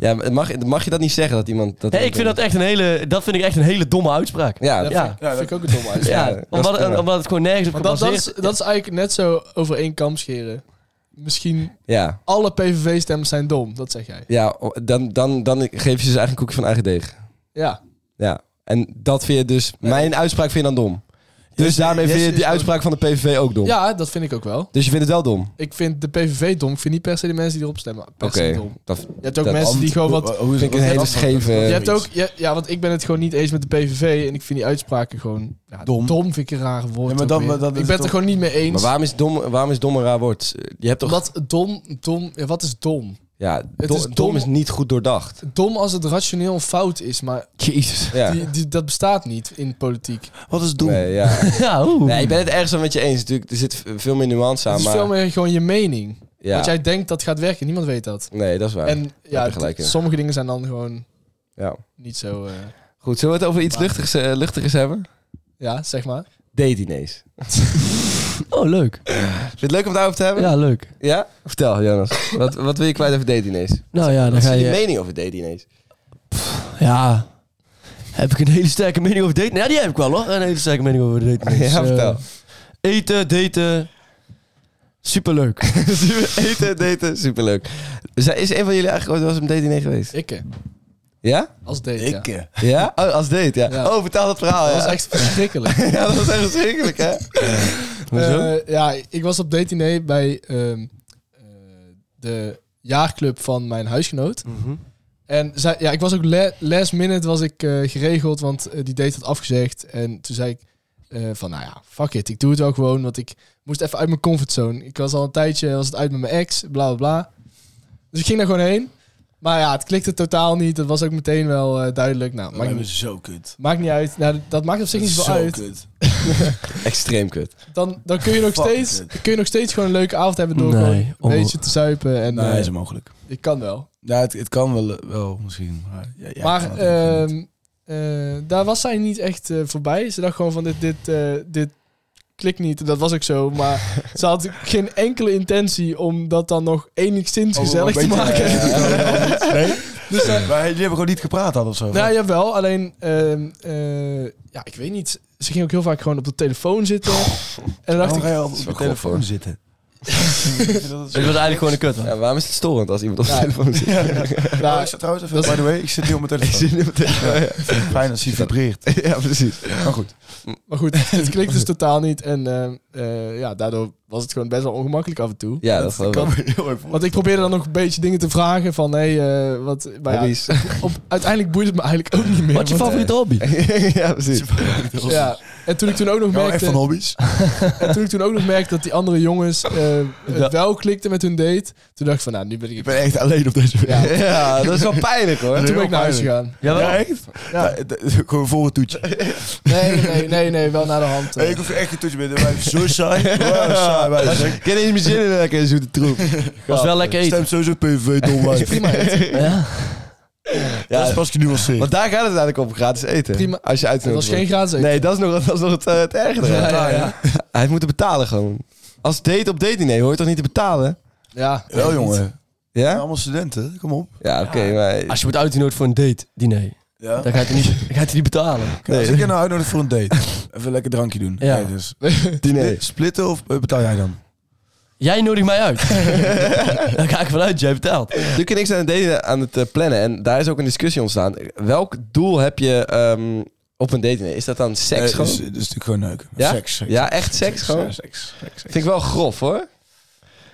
S3: ja, maar mag, mag je dat niet zeggen dat iemand... Dat
S5: Hey, ik vind dat echt een hele, dat vind ik echt een hele domme uitspraak.
S3: Ja,
S6: Dat
S3: ja,
S5: ja.
S6: Vind, ik- vind ik ook een domme uitspraak.
S5: Ja,
S3: dat is
S5: omdat,
S3: prima.
S5: omdat het gewoon nergens op
S6: Maar dat, dat,
S5: gebaseerd
S6: is, dat is eigenlijk net zo over één kam scheren. Misschien
S3: ja.
S6: alle PVV-stemmers zijn dom, dat zeg jij.
S3: Ja, o- dan, dan, dan geef je ze dus eigenlijk een koekje van eigen deeg.
S6: Ja.
S3: Ja. En dat vind je dus... Mijn uitspraak vind je dan dom. Dus daarmee vind je die uitspraak van de PVV ook dom.
S6: ja, dat vind ik ook wel.
S3: Dus je vindt het wel dom?
S6: Ik vind de PVV dom. Ik vind niet per se de mensen die erop stemmen per
S3: Oké.
S6: se dom.
S3: Dat
S6: Je hebt ook
S3: Dat-
S6: mensen die gewoon wat...
S4: Hoe is
S3: vind ik een hele scheve...
S6: Je hebt ook, ja, ja, want ik ben het gewoon niet eens met de PVV. En ik vind die uitspraken gewoon... Ja,
S4: Dom.
S6: dom. vind ik een rare woord.
S4: Ja, maar
S6: ook
S4: dan-
S6: weer.
S4: maar dan is
S6: ik ben
S4: het
S6: het
S4: toch-
S6: er gewoon niet mee eens.
S3: Maar waarom is dom, waarom is dom een raar woord? Je hebt toch...
S6: Omdat dom, dom... Ja, wat is dom?
S3: ja, do-
S6: is
S3: dom,
S6: dom.
S3: is niet goed doordacht.
S6: Dom als het rationeel fout is, maar
S5: Jezus.
S3: Ja.
S6: die, die, dat bestaat niet in politiek.
S4: Wat is dom?
S3: Nee, ja.
S5: Ja, oeh.
S3: Nee, ik ben het ergens wel met je eens. Natuurlijk, er zit veel meer nuance aan.
S6: het is
S3: maar,
S6: veel meer gewoon je mening.
S3: ja.
S6: Wat jij denkt dat gaat werken, niemand weet dat.
S3: Nee, dat is waar.
S6: en ja,
S3: je gelijk in.
S6: sommige dingen zijn dan gewoon
S3: Ja.
S6: niet zo... eh,
S3: Goed, zullen we het over iets luchtigs, eh, luchtigers hebben?
S6: ja, zeg maar.
S3: D-diners.
S5: Oh, leuk.
S3: Vind je het leuk om het daarover te hebben?
S5: Ja, leuk.
S3: Ja? Vertel, Jonas. wat, wat wil je kwijt over D-diners?
S5: Nou ja, dan
S3: Wat
S5: ga
S3: is je
S5: je...
S3: mening over D-diners?
S5: Ja. Heb ik een hele sterke mening over daten? Ja, die heb ik wel hoor. Een hele sterke mening over daten. Dus,
S3: Ja,
S5: eh,
S3: vertel.
S5: eten, daten. Dus Superleuk.
S3: Super- eten, daten, superleuk. Zij- Is een van jullie eigenlijk ooit wel eens op een date-diner geweest?
S6: Ikke,
S3: Ja?
S6: als date, ja.
S4: Ik. eh,
S3: Ja? Oh, als date, ja.
S6: Ja.
S3: Oh, vertel dat verhaal,
S6: Dat was
S3: ja.
S6: echt verschrikkelijk.
S3: Ja, dat was echt verschrikkelijk, hè?
S6: Eh, ja, ik was op date bij ehm, eh, de jaarclub van mijn huisgenoot. En zij, ja, ik was ook la- last minute was ik eh, geregeld, want eh, die date had afgezegd. En toen zei ik eh, van, nou ja, fuck it, ik doe het wel gewoon, want ik moest even uit mijn comfortzone. Ik was al een tijdje, was het uit met mijn ex, bla bla bla. Dus ik ging daar gewoon heen. Maar ja, het klikte totaal niet. Dat was ook meteen wel eh, duidelijk. Nou, maakt,
S4: Lijkt me
S6: niet-
S4: zo kut.
S6: maakt niet uit. Nou, dat maakt op zich niet
S4: dus- zo
S6: zo uit
S4: kut.
S3: Extreem kut.
S6: dan, dan kun, je nog
S4: Fuck
S6: steeds,
S4: it.
S6: kun je nog steeds gewoon een leuke avond hebben door
S5: Nee,
S6: gewoon een
S5: onmo-
S6: beetje te zuipen. En,
S4: Nee,
S6: eh,
S4: is mogelijk.
S6: ik kan wel.
S4: Ja, het, het kan wel, wel misschien. Maar, ja, ja, ik
S6: maar
S4: kan het even niet.
S6: ehm, eh, daar was zij niet echt eh, voorbij. Ze dacht gewoon van dit, dit, eh, dit klikt niet. Dat was ook zo. Maar ze had geen enkele intentie om dat dan nog enigszins
S4: Oh,
S6: gezellig te
S4: een beetje,
S6: maken.
S4: eh, nee? Dus, eh, maar jullie hebben gewoon niet gepraat hadden of zo?
S6: Nou, jawel. Alleen, ehm, eh, ja, ik weet niet. Ze ging ook heel vaak gewoon op de telefoon zitten. En dan
S4: Waarom
S6: dacht ik,
S4: ga je al Oh, op
S3: is
S4: de
S3: wel
S4: telefoon
S3: gof, hoor.
S4: zitten? dat
S5: Ik was eigenlijk gewoon een kut. man.
S3: Ja, waarom is het storend als iemand op de
S6: Ja.
S3: telefoon zit?
S6: nou,
S4: is trouwens even, by the way, ik zit nu op mijn telefoon. Fijn als hij vibreert.
S3: Oh, Ja, precies.
S4: Maar goed.
S6: Maar goed, het klikt dus totaal niet. En eh, eh, ja, daardoor was het gewoon best wel ongemakkelijk af en toe.
S3: Ja, dat geloof ik.
S6: Want ik probeerde dan nog een beetje dingen te vragen van... Hé, hey, eh, wat... maar ja,
S3: Hobby's.
S6: op, uiteindelijk boeit het me eigenlijk ook niet meer.
S5: Wat is je
S6: want,
S5: favoriete hobby?
S3: eh, ja, precies.
S6: eh, ja. En toen ik toen ook nog
S4: Nou, echt
S6: merkte...
S4: van hobby's.
S6: en toen ik toen ook nog merkte dat die andere jongens... eh, het wel klikten met hun date... Toen dacht ik van, nou, nu ben ik...
S4: Ik ben echt alleen op deze wereld.
S6: Ja. En
S3: Ja, dat is wel pijnlijk hoor.
S6: toen ben ik naar huis gegaan.
S5: Jawel.
S4: Ja, echt? Ja. Gewoon voor een toetje.
S6: Nee, nee, nee, nee, wel naar de hand. eh.
S4: Nee, ik hoef echt geen toetje meer. Wij zo saai. Wauw, saai. wij zijn.
S3: Ik ken eens mijn zin in lekker zoete troep.
S5: was wel lekker eten.
S4: Stemt sowieso PVV, dom wijf.
S5: Ja.
S4: Dat is
S3: Ja,
S4: pas genuanceerd.
S3: want daar gaat het eigenlijk om, gratis eten.
S6: Prima.
S3: Als je
S6: Het
S3: uitnodigt
S6: was geen
S3: wordt.
S6: gratis eten.
S3: Nee, dat is nog, dat is nog het, eh, het ergere.
S6: Ja, ja, ja.
S3: Hij moet betalen gewoon. Als date op date nee, hoor je toch niet te betalen?
S6: Ja.
S4: Wel jongen.
S3: Ja?
S4: Allemaal studenten, kom op.
S3: Ja, oké, maar...
S5: Als je wordt uitgenodigd voor een date, diner,
S4: Ja.
S5: dan gaat hij niet, dan gaat hij niet betalen.
S4: Kijk, als ik je nou uitnodig voor een date, even lekker drankje doen.
S5: Ja.
S4: Nee, dus.
S3: Diner.
S4: Splitten of eh, betaal jij dan?
S5: Jij nodigt mij uit. dan ga ik vanuit, jij betaalt.
S3: Nu ken ik zijn date aan het eh, plannen en daar is ook een discussie ontstaan. Welk doel heb je ehm, op een date nee? Is dat dan seks
S4: Nee,
S3: gewoon?
S4: Dus, dus natuurlijk gewoon neuken.
S3: Ja?
S4: Seks, seks.
S3: ja, echt seks
S4: Seks,
S3: gewoon?
S4: ja, seks, seks, seks.
S3: Vind ik wel grof hoor.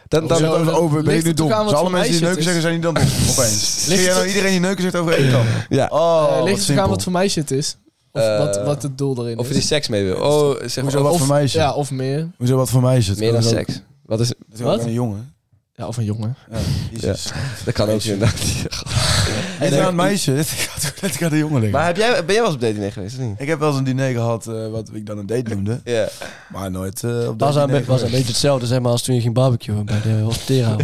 S3: Dan, dan,
S4: Dan
S6: Hoezo?
S4: over, over, ben je
S6: Ligt
S4: nu
S6: het
S4: dom?
S6: ook aan wat
S4: Dus alle
S6: voor
S4: mensen die neuken
S6: meisje
S4: zeggen,
S6: het
S4: zijn niet dan dom opeens? Zie jij nou iedereen die neuken zegt over één kam?
S3: ja.
S4: Oh, wat
S6: Eh, ligt het ook
S4: simpel.
S6: aan wat voor meisje het is? Of
S3: Eh,
S6: wat, wat het doel erin
S3: Of je
S6: is.
S3: die seks mee wil. Oh, zeg maar,
S4: Hoezo wat
S3: of
S4: voor meisje?
S6: Ja, of meer.
S4: Hoezo wat voor meisje? Het
S3: meer
S4: kan
S3: dan
S4: ook-
S3: seks. Wat is,
S4: Het is ook
S5: Wat?
S4: Een jongen.
S6: Ja, of een jongen.
S4: Ja, jezus.
S3: dat kan ook
S4: Meisje.
S3: inderdaad.
S4: Dit is aan het nou meisje, dit gaat, dit gaat de jongen liggen.
S3: Maar heb jij, ben jij wel eens op dating nee geweest, of niet?
S4: ik heb wel eens een diner gehad, eh, wat ik dan een date noemde.
S3: Ja.
S4: Maar nooit eh op
S5: was,
S4: dat
S5: een,
S4: diner
S5: was een
S4: geweest.
S5: beetje hetzelfde zeg maar, als toen je ging barbecuen bij de hospiteraal.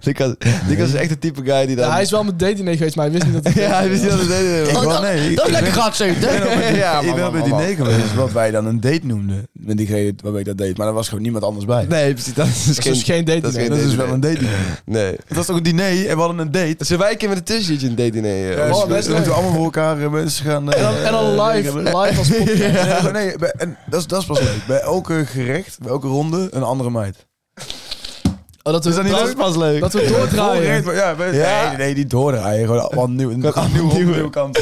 S3: Lucas, Lucas is echt de type guy die dan...
S6: Ja, hij is wel met dating mee geweest, maar hij wist niet dat
S3: Ja, hij wist niet dat het
S5: Oh,
S3: deed.
S4: Ik wel, nee, ik- ik ben-
S5: gat zo.
S4: Ik ben op een-
S3: Ja,
S4: ik ben
S3: man,
S4: op een
S3: man,
S4: diner geweest, wat wij dan een date noemden. Met diegene waarbij ik dat deed. Maar er was gewoon niemand anders bij.
S3: Nee, precies. Dat is,
S6: is dus geen date
S3: dat is
S6: nee.
S3: geen
S4: dat is
S3: date
S4: wel
S3: nee.
S4: een date diner.
S3: Nee.
S4: Het was toch een diner en we hadden een date.
S3: Zullen wij een keer met een tussentje een date eh, nee?
S4: Ja,
S6: Oh,
S4: dus we-
S6: best
S4: we moeten
S6: leuk.
S4: allemaal voor elkaar eh, mensen gaan...
S6: En dan, en dan live, live als podcast.
S4: Ja. Nee, bij- en dat is, dat is pas leuk. Bij elke gerecht, bij elke ronde, een andere meid.
S6: Oh, dat we,
S4: Is dat niet
S6: dat-
S4: leuk? pas leuk.
S6: Dat we doordraaien.
S4: ja, bij-
S3: Ja.
S4: Nee, nee, niet doordraaien. Gewoon allemaal nieuw, een nieuwe, nieuwe, nieuwe kant.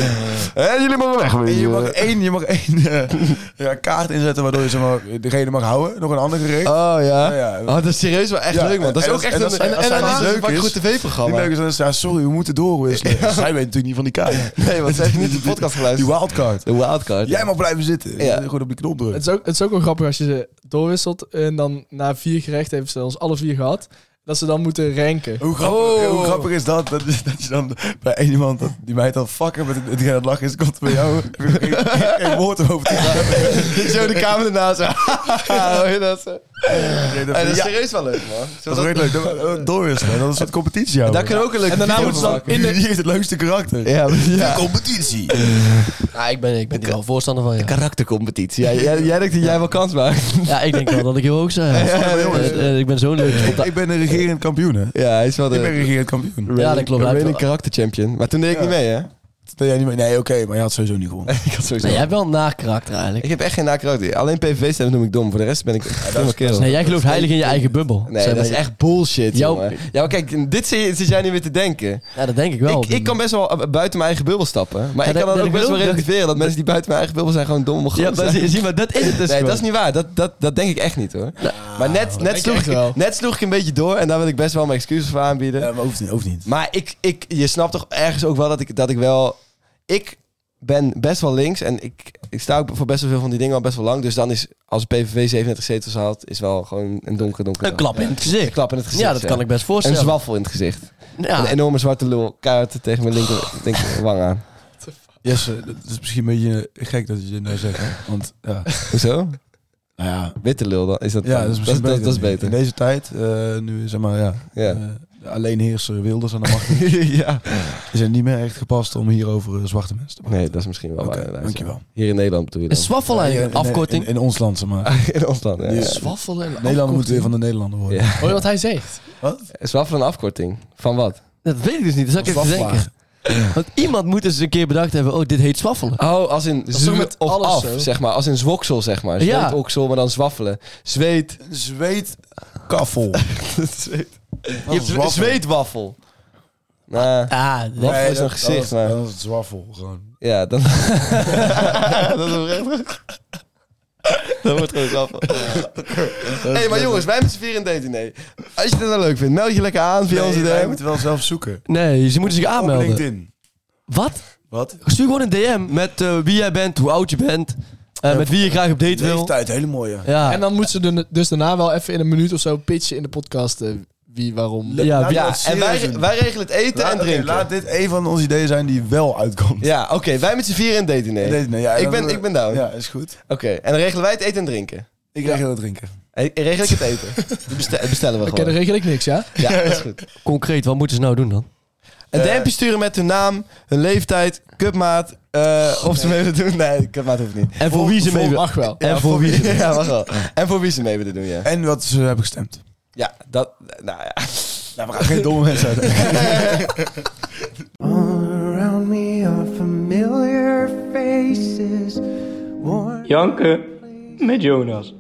S3: jullie mogen weg
S4: En je mag één, je mag één eh, ja, kaart inzetten waardoor je zeg maar, degene mag houden. Nog een ander gerecht.
S3: Oh ja.
S4: Ja, ja.
S3: Oh, dat is serieus wel echt
S4: Ja,
S3: leuk, man. Dat is
S4: en
S3: ook
S4: als-
S3: echt
S4: en als-
S3: een,
S4: en als zij niet leuk
S3: een
S4: is-
S3: goed
S4: Die
S3: tv-programma.
S4: leuke is dan, ja, sorry, we moeten doorwisselen. Zij weet natuurlijk niet van die kaart.
S3: Nee, want ze heeft niet de podcast
S4: Die
S3: geluisterd.
S4: wildcard.
S3: De wildcard.
S4: Jij mag blijven zitten.
S3: Ja.
S4: Gewoon op die knop drukken.
S6: Het is, ook, het is ook wel grappig als je ze doorwisselt en dan na vier gerechten heeft ze ons alle vier gehad. Dat ze dan moeten ranken.
S4: Hoe grappig,
S3: Oh.
S4: hoe grappig is dat, dat? Dat je dan bij één iemand dat, die mij dan fucken met het, het, het lachen is, komt bij jou. Heb je geen, geen woord om over te gaan.
S3: Zo de kamer ernaast. Hoor je dat? zo?
S4: Nee, dat
S3: Hey, Dat
S4: vind
S3: is
S4: ik-
S3: serieus wel leuk, man.
S4: dat is echt leuk. Dat- Doorwisselen, dat is een soort competitie. houden.
S3: Daar kunnen we ook een leuke
S6: En daarna
S3: video
S6: moeten ze
S3: van
S6: dan
S3: maken.
S4: in de... Die heeft het leukste karakter.
S3: Ja, ja.
S4: Competitie.
S5: Ja, Ah, ik ben, ik ben er wel voorstander van, ja.
S3: Karaktercompetitie. Ja, jij, jij denkt dat jij wel kans maakt.
S5: Ja, ik denk wel dat ik heel hoog zou zijn.
S3: Ja,
S5: Eh,
S3: jongens.
S5: eh, ik ben zo'n leuk spontaan.
S4: Ik ben een regerend kampioen, hè?
S3: Ja, hij is wel de...
S4: Ik ben regerend kampioen.
S5: Ja, dat klopt. Hij
S3: Ik
S5: heeft
S3: ben een
S5: wel-
S3: karakterchampion. Maar toen deed ik niet mee, hè?
S4: Nee, jij niet meer- nee, oké, maar je had sowieso niet gewonnen.
S3: Ik had sowieso...
S5: Nee, jij hebt wel een naar karakter eigenlijk.
S3: Ik heb echt geen na-karakter. Alleen PVV-stemmen noem ik dom. Voor de rest ben ik echt helemaal kerel.
S5: Dus Nee, jij gelooft heilig in je eigen bubbel.
S3: Nee,
S5: Zeg
S3: dat is
S5: maar.
S3: echt bullshit,
S5: Jouw-
S3: jongen. Ja, maar kijk, dit zit, zit jij nu weer te denken.
S5: Ja, dat denk ik wel.
S3: ik, ik kan best wel eh, buiten mijn eigen bubbel stappen. Maar
S5: Ja,
S3: ik kan
S5: dat-
S3: dat
S5: dat
S3: ook best wel
S5: geloof ik.
S3: relativeren. Dat mensen die buiten mijn eigen bubbel zijn gewoon domme
S5: Ja,
S3: gozer.
S5: maar zie, zie maar dat is het
S3: Nee, dat
S5: dus
S3: is
S5: gewoon. Nou,
S3: niet waar. Dat, dat, dat denk ik echt niet, hoor. Maar net, net,
S6: ik
S3: sloeg
S6: echt wel.
S3: ik, net sloeg ik een beetje door. En daar wil ik best wel mijn excuses voor aanbieden.
S4: Ja, maar hoeft niet, hoeft niet.
S3: Maar ik, ik, je snapt toch ergens ook wel dat ik, dat ik wel... Ik ben best wel links en ik, ik sta ook voor best wel veel van die dingen al best wel lang. Dus dan is, als de PVV 37 zetels haalt, is wel gewoon een donkere donkere
S5: Een klap in het
S3: Een
S5: gezicht.
S3: klap in het gezicht.
S5: Ja, dat
S3: hè.
S5: kan ik best
S3: Een
S5: voorstellen.
S3: zwaffel in het gezicht. Een
S5: Ja.
S3: enorme zwarte lul, kaart tegen mijn linker, linkerwang aan.
S4: Yes, eh, dat is misschien een beetje eh, gek dat je dit nou zegt, hè? Want, ja.
S3: Hoezo?
S4: Nou ja,
S3: Witte lul, dan is dat
S4: Ja, dat is misschien
S3: dat,
S4: beter.
S3: dat is beter.
S4: In deze tijd, eh, nu zeg maar, ja,
S3: Ja.
S4: eh, de alleenheerser Wilders aan de macht,
S3: ja.
S4: is het niet meer echt gepast om hier over eh, zwarte mensen te
S3: Nee, dat is misschien wel
S4: Oké,
S3: waar. inderdaad,
S4: dankjewel.
S3: ja. Hier in Nederland bedoel je
S5: Een
S3: dan.
S5: zwaffel
S4: praten.
S5: eigenlijk,
S4: In- in-
S5: afkorting.
S4: In, in ons land, zeg maar.
S3: in ons land, ja.
S4: Die
S3: ja.
S4: is-
S6: Zwaffel en
S4: Nederland moet weer
S6: afkorting.
S4: van de Nederlander worden.
S3: Ja.
S6: Hoor je wat hij zegt?
S3: Een Zwaffel een afkorting. Van wat?
S5: Dat weet ik dus niet, dat zou ik even
S4: Zwaffelaar.
S5: denken. Want iemand moet dus eens een keer bedacht hebben, oh, dit heet zwaffelen.
S3: Oh, als in
S6: is toch
S3: zwe-
S6: met
S3: of
S6: alles
S3: af,
S6: zo?
S3: zeg maar. Als in zwoksel, zeg maar.
S5: Ja.
S3: Zweetoksel, maar dan zwaffelen. Zweet.
S4: Zweet kaffel.
S3: zweet.
S4: Dat is zwaffel.
S3: zweetwaffel. Nou,
S5: Ah,
S3: Waffel
S4: Nee,
S3: is
S4: dat-
S3: een gezicht,
S4: dat is-
S3: maar-
S4: Dat is het zwaffel, gewoon.
S3: ja, dan... dat is oprecht. dat wordt gewoon zwaffel. Hé, hey, maar jongens, wij met z'n vieren een date diner. Als je het nou leuk vindt, meld je lekker aan via onze
S4: Nee, wij
S3: DM.
S4: moeten wel zelf zoeken.
S5: nee, ze moeten zich
S4: Op
S5: aanmelden.
S4: LinkedIn.
S5: Wat?
S4: Wat?
S5: Stuur gewoon een DM met eh, wie jij bent, hoe oud je bent, eh, met wie je graag op date wil.
S4: Leeftijd, hele mooie.
S5: Ja,
S6: En dan moet ze de- dus daarna wel even in een minuut of zo pitchen in de podcast eh, wie, waarom.
S5: ja,
S4: laat-
S5: wie-
S3: Ja,
S4: dat
S3: en
S4: serieus
S3: wij,
S4: doen.
S3: wij regelen het eten
S4: Laat,
S3: en
S4: oké,
S3: drinken.
S4: laat dit een van onze ideeën zijn die wel uitkomt.
S3: Ja, oké, wij met z'n vieren een date diner.
S4: Deze- nee, ja,
S3: ik,
S4: dan-
S3: ben, ik ben down.
S4: Ja, is goed.
S3: Oké, en dan regelen wij het eten en drinken.
S4: Ik krijg je dat drinken.
S3: En en regel ik het eten. Bestel- bestellen we
S6: Oké, dan
S3: gewoon.
S6: regel ik niks, ja?
S3: Ja, dat is goed.
S5: concreet, wat moeten ze nou doen dan?
S3: Een DM'tje sturen met hun naam, hun leeftijd, cupmaat. eh of ze mee willen doen. Nee, cupmaat hoeft niet.
S5: En voor wie ze mee wil.
S6: Mag wel.
S5: En voor wie ze
S3: ja, mag wel. En voor wie ze mee willen doen, ja.
S4: En wat ze hebben gestemd.
S3: Ja, dat... Nou ja.
S4: Nou, we gaan geen domme mensen uit.
S8: Janken met Jonas.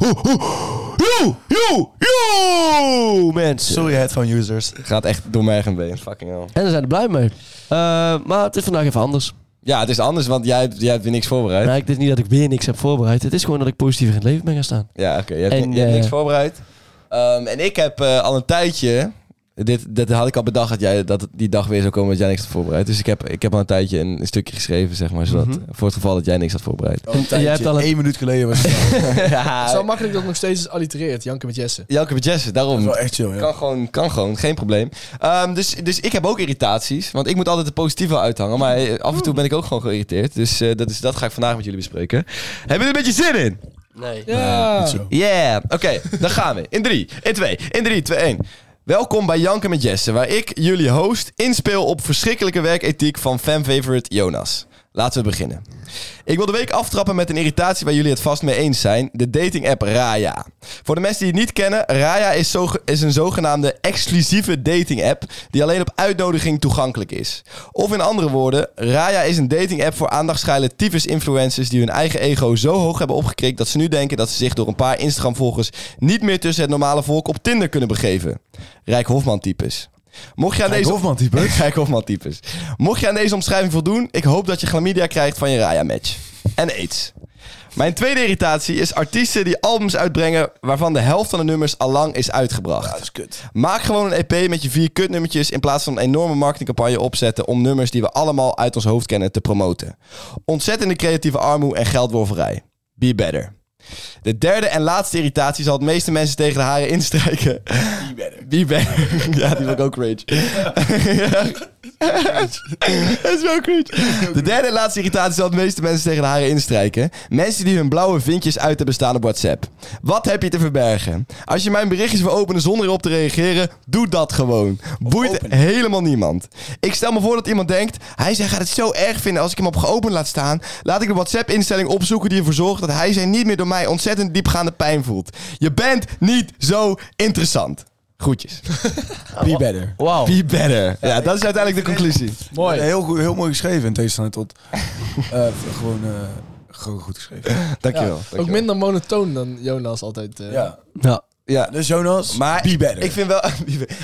S5: Yo, yo, yo, mensen.
S4: Sorry, headphone users.
S3: Gaat echt door mijn been. Fucking hell.
S5: En daar zijn we blij mee. Eh, maar het is vandaag even anders.
S3: Ja, het is anders, want jij, hebt- jij hebt weer niks voorbereid.
S5: Nee, het is niet dat ik weer niks heb voorbereid. Het is gewoon dat ik positiever in het leven ben gaan staan.
S3: Ja, oké. Je, hebt-
S5: En,
S3: je hebt niks
S5: eh,
S3: voorbereid. Ehm, en ik heb eh, al een tijdje... Dit, dat had ik al bedacht dat, jij, dat die dag weer zou komen dat jij niks had voorbereid. Dus ik heb, ik heb al een tijdje een, een stukje geschreven, zeg maar. Zodat,
S4: Mhm.
S3: Voor het geval dat jij niks had voorbereid.
S4: Oh, een tijdje.
S5: hebt al een-
S4: Eén minuut geleden was het
S6: Het is wel makkelijk dat het nog steeds is allitereerd, Janke met Jesse.
S3: Jelke met Jesse,
S4: Dat
S3: daarom.
S4: is wel echt chill, ja.
S3: Kan gewoon, kan gewoon, geen probleem. Ehm, dus, dus ik heb ook irritaties, want ik moet altijd de positieve uithangen. Maar eh, af en toe ben ik ook gewoon geïrriteerd. Dus eh, dat, is, dat ga ik vandaag met jullie bespreken. Hebben jullie er een beetje zin in?
S5: Nee.
S6: Ja.
S4: Niet zo.
S3: Yeah, oké, dan gaan we. In 3, in 2, in 3, 2, 1. Welkom bij Janken met Jesse, waar ik, jullie host, inspeel op verschrikkelijke werkethiek van fanfavorite Jonas. Laten we beginnen. Ik wil de week aftrappen met een irritatie waar jullie het vast mee eens zijn: de dating app Raya. Voor de mensen die het niet kennen, Raya is, zo, is een zogenaamde exclusieve dating app die alleen op uitnodiging toegankelijk is. Of in andere woorden, Raya is een dating app voor aandachtsgeile tyfus influencers die hun eigen ego zo hoog hebben opgekrikt dat ze nu denken dat ze zich door een paar Instagram volgers niet meer tussen het normale volk op Tinder kunnen begeven. Rijk Hofman types. Mocht je aan
S4: Kijk,
S3: deze
S4: Hofman-type.
S3: Kijk Hofman-types. Mocht je aan deze omschrijving voldoen, ik hoop dat je chlamydia krijgt van je Raya-match. En aids. Mijn tweede irritatie is artiesten die albums uitbrengen waarvan de helft van de nummers al lang is uitgebracht.
S4: Ja, dat is kut.
S3: Maak gewoon een EP met je vier kutnummertjes in plaats van een enorme marketingcampagne opzetten om nummers die we allemaal uit ons hoofd kennen te promoten. Ontzettende creatieve armoe en geldworverij. Be better. De derde en laatste irritatie zal het meeste mensen tegen de haren instrijken. Be better. Be better. Ja, die wil ik ook rage. Dat is wel cringe. De derde en laatste irritatie zal het meeste mensen tegen de haren instrijken. Mensen die hun blauwe vinkjes uit hebben staan op WhatsApp. Wat heb je te verbergen? Als je mijn berichtjes wil openen zonder erop te reageren, doe dat gewoon. Boeit helemaal niemand. Ik stel me voor dat iemand denkt, hij zij gaat het zo erg vinden als ik hem op geopend laat staan. Laat ik de WhatsApp-instelling opzoeken die ervoor zorgt dat hij zij niet meer door mij ontzettend diepgaande pijn voelt. Je bent niet zo interessant. Groetjes. Ah,
S4: Be better.
S5: Wauw.
S3: Be better. Ja, dat is uiteindelijk de conclusie.
S4: Mooi. heel, goed, heel mooi geschreven in tegenstelling tot... eh, gewoon, eh, gewoon goed
S6: Eh.
S4: geschreven.
S3: Dankjewel.
S6: Ook
S3: dankjewel.
S6: minder monotoon dan Jonas altijd. eh.
S4: Ja.
S5: Ja.
S3: Ja.
S4: Dus Jonas,
S3: Maar
S4: be better.
S3: ik vind wel,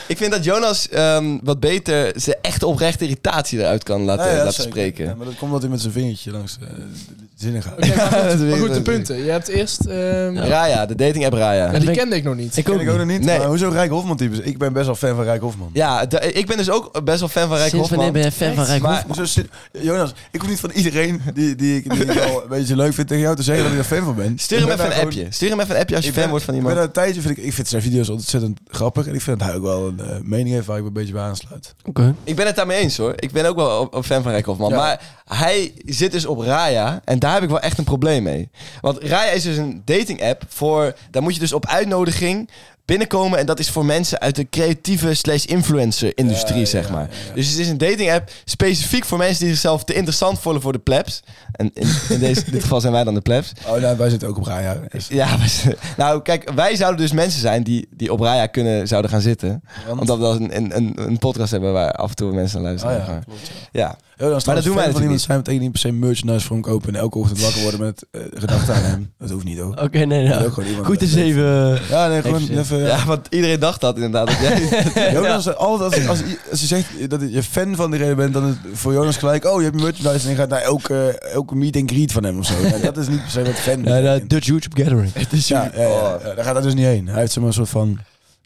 S3: ik vind dat Jonas ehm, wat beter zijn echte oprechte irritatie eruit kan laten,
S4: Nou ja,
S3: laten
S4: zeker.
S3: spreken.
S4: Ja, maar dat komt omdat hij met zijn vingertje langs eh, de de zinnen gaat.
S6: Oké, maar goed,
S3: Dat weet ik
S6: maar goed, de
S3: natuurlijk.
S6: punten. Je hebt eerst... ehm, ja.
S3: Raya, de dating app Raya.
S6: die
S5: ben ik-
S6: kende ik nog niet.
S5: Ik ook
S4: Ken ik ook nog niet.
S3: Nee.
S4: Maar hoezo Rijk Hofman types? Ik ben best wel fan van Rijk Hofman.
S3: Ja, de- ik ben dus ook best wel fan van Rijk
S5: Sinds wanneer
S3: Hofman.
S5: ben je fan van Rijk
S3: Maar-
S5: Hofman?
S4: Zo zit- Jonas, ik hoef niet van iedereen die, die, ik, die ik al een beetje leuk vind tegen jou te zeggen dat ik er fan van ben.
S3: Stuur
S4: Ik
S3: hem
S4: ben
S3: even
S4: daar
S3: een
S4: gewoon-
S3: appje. Stuur hem even een appje als je
S4: ik
S3: fan
S4: ben-
S3: wordt van iemand.
S4: Ik ben al een tijdje, vind ik, ik vind zijn video's ontzettend grappig. En ik vind dat hij ook wel een eh, mening heeft waar ik me een beetje bij aansluit.
S5: Oké.
S3: Ik ben het daarmee eens hoor. Ik ben ook wel op- op fan van Rijk Hofman.
S4: Ja.
S3: Maar hij zit dus op Raya. En daar heb ik wel echt een probleem mee. Want Raya is dus een dating app voor... Daar moet je dus op uitnodiging binnenkomen. En dat is voor mensen uit de creatieve slash influencer industrie, zeg maar. Dus het is een dating app specifiek voor mensen die zichzelf te interessant voelen voor de plebs. En in, in deze, dit geval zijn wij dan de plebs.
S4: Oh, nou, wij zitten ook op Raya. Dus-
S3: Ja, maar ze- nou kijk, wij zouden dus mensen zijn die, die op Raya kunnen, zouden gaan zitten.
S4: Want-
S3: Omdat we dan een, een- een, een podcast hebben waar af en toe mensen naar luisteren.
S4: Oh ja,
S3: Maar-
S4: klopt, ja.
S3: ja.
S4: Jonas,
S3: Maar dat doen wij
S4: fan van
S3: natuurlijk niet.
S4: iemand zijn betekent niet per se merchandise voor hem kopen en elke ochtend wakker worden met eh, gedachten aan hem. Dat hoeft niet ook.
S5: Oké, nee,
S4: Ja, ook
S5: nou.
S4: gewoon iemand-
S5: Goed is even... eh,
S4: Ja, nee, gewoon
S5: Even-
S4: even...
S3: Ja, want iedereen dacht dat inderdaad. Dat jij...
S4: Jonas, altijd als, als, als je zegt dat je fan van die reden bent, dan is het voor Jonas gelijk, oh, je hebt merchandise en je gaat naar elke, elke meet and greet van hem of zo. Nou, dat is niet per se wat fan
S5: Ja,
S4: ja,
S5: de Dutch YouTube Gathering.
S4: ja, ja, ja. daar gaat hij dus niet heen. Hij heeft zomaar een soort van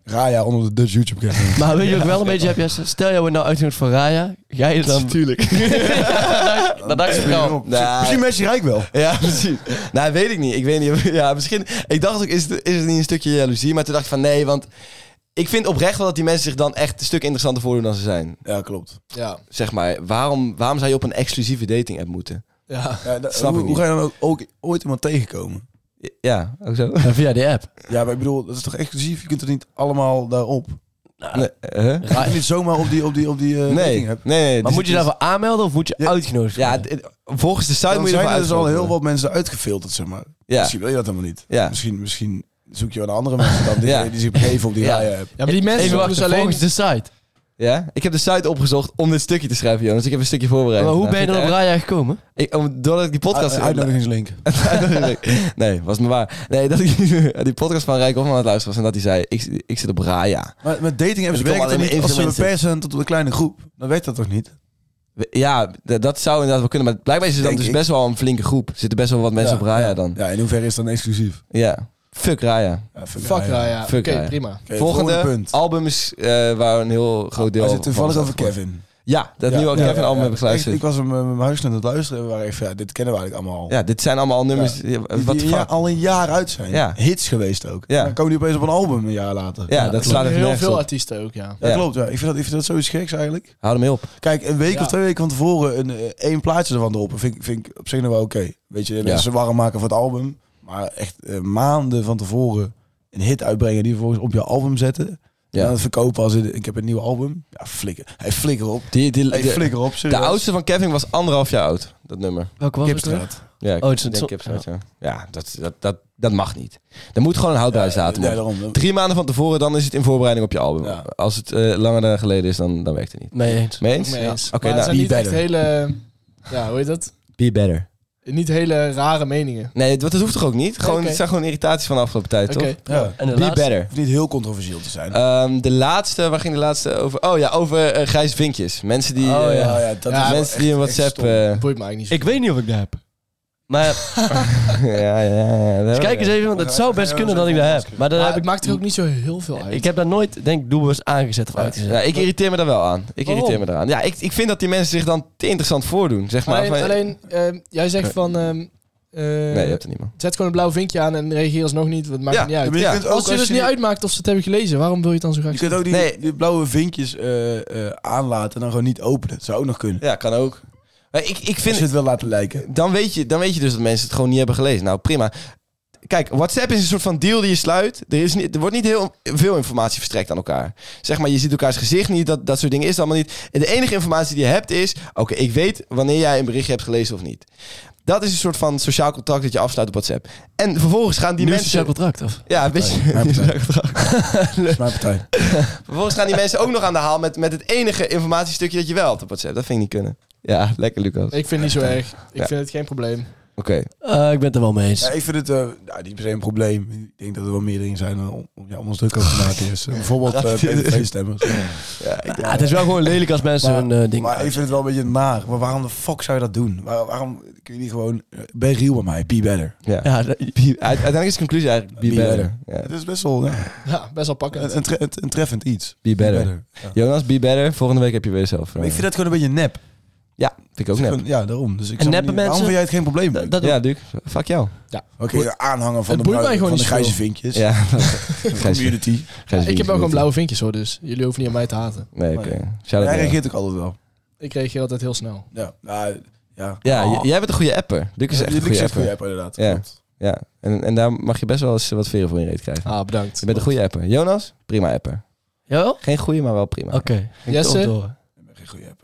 S4: Raya onder de Dutch YouTube kanaal.
S5: Maar weet je wat ik wel een beetje heb? Jesse? Stel jij wordt nou uitgenodigd voor Raya. Ga je dan... Tuurlijk. dat dacht ik wel.
S3: Nou,
S4: Misschien mensen rijk wel.
S3: Ja, precies. Nou, weet ik niet. Ik weet niet. of- Ja, misschien. Ik dacht ook, is het, is het niet een stukje jaloezie? Maar toen dacht ik van nee, want ik vind oprecht wel dat die mensen zich dan echt een stuk interessanter voordoen dan ze zijn.
S4: Ja, klopt.
S6: Ja.
S3: Zeg maar, waarom, waarom zou je op een exclusieve dating app moeten?
S6: ja.
S4: Ja, dat-
S3: Snap
S4: hoe,
S3: ik
S4: hoe
S3: niet.
S4: ga je dan ook, ook ooit iemand tegenkomen?
S3: Ja, ook zo.
S5: En via die app.
S4: Ja, maar ik bedoel, dat is toch exclusief? Je kunt er niet allemaal daarop.
S3: Nee, hè?
S4: Je kunt niet zomaar op die, op die, op die eh,
S3: nee,
S4: dating
S3: nee,
S4: app.
S3: nee.
S5: Maar
S3: dus-
S5: moet je daarvoor aanmelden of moet je
S4: Ja.
S5: uitgenodigd
S3: Ja,
S5: worden?
S3: dit- volgens de site
S4: Dan
S3: moet je
S4: zijn
S3: ervoor
S4: er dus al
S3: uitgenodigd
S4: heel
S3: worden.
S4: wat mensen uitgefilterd, zeg maar.
S3: Ja.
S4: Misschien wil je dat helemaal niet.
S3: Ja.
S4: Misschien, misschien zoek je wel naar andere mensen dan die,
S3: Ja.
S4: die zich begeven op die
S3: Ja.
S4: Raya app.
S6: Ja, maar die mensen
S5: Even
S6: doen
S5: wachten,
S6: dus alleen...
S5: volgens de site.
S3: Ja? Ik heb de site opgezocht om dit stukje te schrijven, Jonas. Ik heb een stukje voorbereid.
S5: maar hoe
S3: Nou,
S5: ben je dan
S3: vind
S5: op
S3: ik
S5: Raya gekomen?
S3: echt- Ik, om- doordat ik die podcast...
S4: Uit- Uitnodigingslink.
S3: nee, was me waar. Nee, dat ik die podcast van Rijk Hofman aan het luisteren was en dat hij zei, ik, ik zit op Raya.
S4: Maar met dating apps
S3: Er komen
S4: werkt het
S3: alleen
S4: niet
S3: maar
S4: als ze
S3: influencers.
S4: beperkt zijn tot een kleine groep. Dan werkt dat toch niet?
S3: We- Ja, d- dat zou inderdaad wel kunnen, maar blijkbaar is het dan
S4: Denk
S3: dus
S4: ik.
S3: best wel een flinke groep. Er zitten best wel wat mensen
S4: Ja,
S3: op Raya dan.
S4: Ja, in hoeverre is dat dan exclusief?
S3: Ja. Fuck Raya.
S4: Ja,
S6: Fuck
S4: ja, ja.
S6: Raya. Oké,
S3: Fuck Raya.
S6: prima.
S4: Oké,
S3: Volgende
S4: punt.
S3: album is eh, waar een heel groot deel
S4: Hij zit toevallig
S3: van
S4: over
S3: staat.
S4: Kevin.
S3: Ja, dat nieuwe
S4: Ja,
S3: Kevin
S4: ja,
S3: album
S4: ja.
S3: heb ik geluisterd.
S4: Ik, ik was hem eh, met mijn huis aan het luisteren en we waren even, ja, dit kennen we eigenlijk allemaal al.
S3: ja, dit zijn allemaal nummers.
S4: Ja.
S3: die-
S4: Die-
S3: Wat de
S4: die
S3: fuck?
S4: ja, al een jaar uit zijn.
S3: Ja.
S4: Hits geweest ook.
S3: Ja.
S4: Dan komen die opeens op een album een jaar later.
S3: Ja, dat slaat even
S6: Heel
S3: nergens
S6: veel
S3: op.
S6: artiesten ook, ja.
S4: Ja,
S3: Ja.
S4: klopt. Ja. Ik, vind dat, ik vind dat zoiets geks eigenlijk.
S3: Hou hem op.
S4: Kijk, een week
S6: Ja.
S4: of twee weken van tevoren een, eh, één plaatje ervan erop. Vind, ik- vind ik op zich nog wel oké. Weet je, mensen warm maken voor het album. Maar echt eh, maanden van tevoren een hit uitbrengen die vervolgens op je album zetten.
S3: Ja.
S4: En dan verkopen als in, ik heb een nieuw album. Ja, flikker. Hij flikker op.
S3: Die, die,
S4: Hij
S3: de-
S4: flikker op,
S3: de
S4: serieus.
S3: oudste van Kevin was anderhalf jaar oud, dat nummer.
S5: Welke was het weer?
S4: Kipstraat.
S3: Ja, ik
S5: Oh, het is een
S3: denk
S5: zo-
S3: Kipstraat, ja. Ja, dat, dat, dat, dat mag niet. Er moet gewoon een houtbaar datum
S4: Ja,
S3: op.
S4: daarom.
S3: Drie maanden van tevoren, dan is het in voorbereiding op je album.
S4: Ja.
S3: Als het eh, langer dan geleden is, dan, dan werkt het niet.
S5: Mee eens.
S3: Mee
S6: Ook
S3: eens?
S6: mee
S3: Ja.
S6: eens.
S3: Oké,
S6: Maar het
S3: nou,
S6: zijn
S3: be
S6: niet echt
S3: better.
S6: hele... Ja, hoe heet dat?
S3: Be better.
S6: Niet hele rare meningen.
S3: Nee, dat, dat hoeft toch ook niet? Gewoon,
S6: Oké.
S3: Het zijn gewoon irritaties van de afgelopen tijd,
S6: Oké.
S3: toch?
S4: Ja.
S5: En de
S3: Be
S5: laatste?
S3: better.
S4: Hoeft niet heel controversieel te zijn.
S3: Ehm, de laatste, waar ging de laatste over? Oh ja, over eh, grijs vinkjes. Mensen die,
S5: Oh,
S3: eh,
S5: ja.
S4: ja, dat wel
S6: Ja,
S3: mensen
S4: echt-
S3: die in
S4: echt
S3: WhatsApp...
S4: stom.
S3: eh,
S6: Boeit me eigenlijk niet zo.
S5: Ik weet niet of ik dat heb. Maar
S3: ja, ja, ja,
S5: dus kijk eens even, want het zou best kunnen dat ik dat heb. Maar dat
S6: Maar
S5: heb
S6: het
S5: ik,
S6: maakt er ook niet zo heel veel uit.
S5: eh, ik heb dat nooit, denk ik, doelbewust aangezet of uitgezet.
S3: Ja, ik irriteer me daar wel aan. Ik
S6: Waarom?
S3: irriteer me daaraan. Ja, ik, ik vind dat die mensen zich dan te interessant voordoen, zeg maar.
S6: alleen,
S3: Van-
S6: alleen ehm, jij zegt van... ehm, eh,
S3: Nee, je hebt er niet, man.
S6: Zet gewoon een blauw vinkje aan en reageer alsnog niet. want Het maakt
S3: Ja,
S6: me niet uit.
S4: Maar je
S3: Ja.
S4: kunt ook
S6: Als het
S4: als
S6: dus
S4: je
S6: niet
S4: die-
S6: uitmaakt of ze het hebben gelezen, waarom wil je het dan zo graag
S4: Je kunt ook die,
S3: Nee.
S4: die blauwe vinkjes eh, eh, aanlaten en dan gewoon niet openen. Dat zou ook nog kunnen.
S3: Ja, kan ook. Maar ik, ik
S4: Als
S3: vind
S4: je het wil laten lijken.
S3: dan weet, je, dan weet je dus dat mensen het gewoon niet hebben gelezen. Nou, prima. Kijk, WhatsApp is een soort van deal die je sluit. Er, is niet, er wordt niet heel veel informatie verstrekt aan elkaar. Zeg maar, je ziet elkaars gezicht niet. Dat, dat soort dingen is het allemaal niet. En de enige informatie die je hebt is... Oké, ik weet wanneer jij een berichtje hebt gelezen of niet. Dat is een soort van sociaal contract dat je afsluit op WhatsApp. En vervolgens gaan die
S5: nu is het
S3: mensen...
S5: jouw contract, of?
S3: Ja, een beetje...
S4: Mijn partij.
S3: Nee.
S4: Dat is mijn partij.
S3: Vervolgens gaan die mensen ook nog aan de haal met, met het enige informatiestukje dat je wel hebt op WhatsApp. Dat vind ik niet kunnen. Ja, lekker Lucas. Oké.
S6: Ik vind het niet zo erg. Ik
S3: Ja.
S6: vind het geen probleem.
S5: Eh, ik ben het er wel mee eens.
S4: Ja, ik vind het eh, nou, niet per se een probleem. Ik denk dat er wel meer dingen zijn eh, om, om- ja, om ons druk over te maken. Dus, eh, bijvoorbeeld eh PVV-stemmers.
S3: Ja, ik-
S5: Ja, het is wel gewoon lelijk als mensen
S4: Maar,
S5: hun eh, ding...
S4: maar ik vind het wel een beetje naar. Maar waarom de fuck zou je dat doen? Waar- waarom kun je niet gewoon... eh, ben real bij mij, be better.
S3: ja.
S5: ja, dat-
S3: Uite- Uiteindelijk is de conclusie eigenlijk be,
S4: Be
S3: better.
S4: Het
S3: Ja.
S4: is best wel ja,
S6: Ja, best wel
S4: een,
S6: pakkend.
S4: een tre- een- een treffend iets.
S3: Be better.
S4: Ja.
S3: Jonas, be better. Volgende week heb je weer zelf. eh,
S4: Maar ik vind dat gewoon een beetje nep.
S3: Ja, vind ik ook
S4: Het is
S3: nep.
S4: gewoon- Ja, daarom. Dus ik
S5: En
S4: snap
S5: neppe
S4: niet- Waarom
S5: mensen-
S4: vind jij het geen probleem?
S5: dat- dat-
S3: Ja, Duke. Fuck jou.
S4: Oké, de aanhanger van
S6: Het
S4: de,
S6: boeit mij
S4: bruine-
S6: gewoon
S4: van de
S6: niet zoveel.
S4: grijze vinkjes.
S3: Ja.
S4: De community.
S6: Ik heb ook gewoon blauwe vinkjes hoor, dus jullie hoeven niet aan mij te haten.
S3: Nee, oké. Shout out
S4: Hij
S3: naar jou.
S4: reageert ook altijd wel.
S6: Ik reageer altijd heel snel.
S4: Ja, nou, ja.
S3: Ja,
S4: Oh.
S3: j- jij bent een goede apper. Duke is echt een
S4: Jullie
S3: goede
S4: zegt goede
S3: apper.
S4: app, inderdaad.
S3: Ja.
S4: Klopt.
S3: Ja. En, en daar mag je best wel eens wat veren voor in je reet krijgen.
S6: Ah, bedankt.
S3: Je bent een goede apper. Jonas, prima apper.
S5: Jawel?
S3: Geen goede, maar wel prima.
S5: Oké.
S6: Jesse?
S5: Kom door.
S4: Ik ben geen goede app.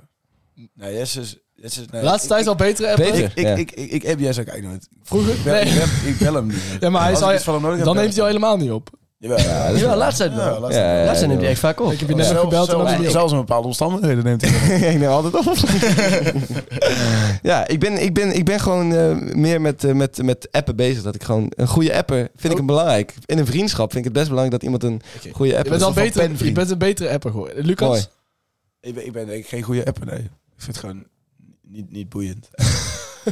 S4: Nee, Jesse is... Jesse is nee,
S6: Laatste tijd
S4: ik,
S6: al betere appen.
S3: Beter.
S4: ik, ik,
S3: Ja.
S4: ik, ik, ik app Jesse ook eigenlijk nooit.
S6: Vroeger?
S4: Ik bel,
S6: Nee.
S4: ik bel, ik bel hem niet.
S6: Ja, maar hij
S4: Als
S6: zal-
S4: ik iets van hem nodig heb,
S6: Dan
S4: bel
S6: neemt hij al
S4: ik
S6: helemaal niet op.
S4: hem. Jawel,
S3: Ja, dat is
S5: Jawel,
S3: wel-
S5: laatst zijn
S4: Ja,
S5: wel.
S4: laatst-
S3: Ja, ja,
S5: Laatst zijn
S3: ja,
S5: neemt hij
S3: ja.
S5: echt vaak op.
S6: Ik heb je net
S4: Zelf-
S6: nog gebeld en
S4: zelf-
S6: dan was hij niet op.
S4: Zelfs in bepaalde omstandigheden neemt hij hem.
S3: ik neem altijd op. ja, ik ben, ik ben, ik ben gewoon eh, meer met, eh, met, met appen bezig. Dat ik gewoon een goede apper vind ik hem belangrijk. In een vriendschap vind ik het best belangrijk dat iemand een
S6: Oké.
S3: goede
S6: Oh. Je
S3: apper
S6: bent,
S3: is.
S6: al
S4: van
S6: beter, je
S4: penvriend.
S6: bent een betere apper geworden. Lucas?
S3: Mooi.
S4: Ik ben, ik ben denk ik geen goede app, nee. Ik vind het gewoon niet, niet boeiend.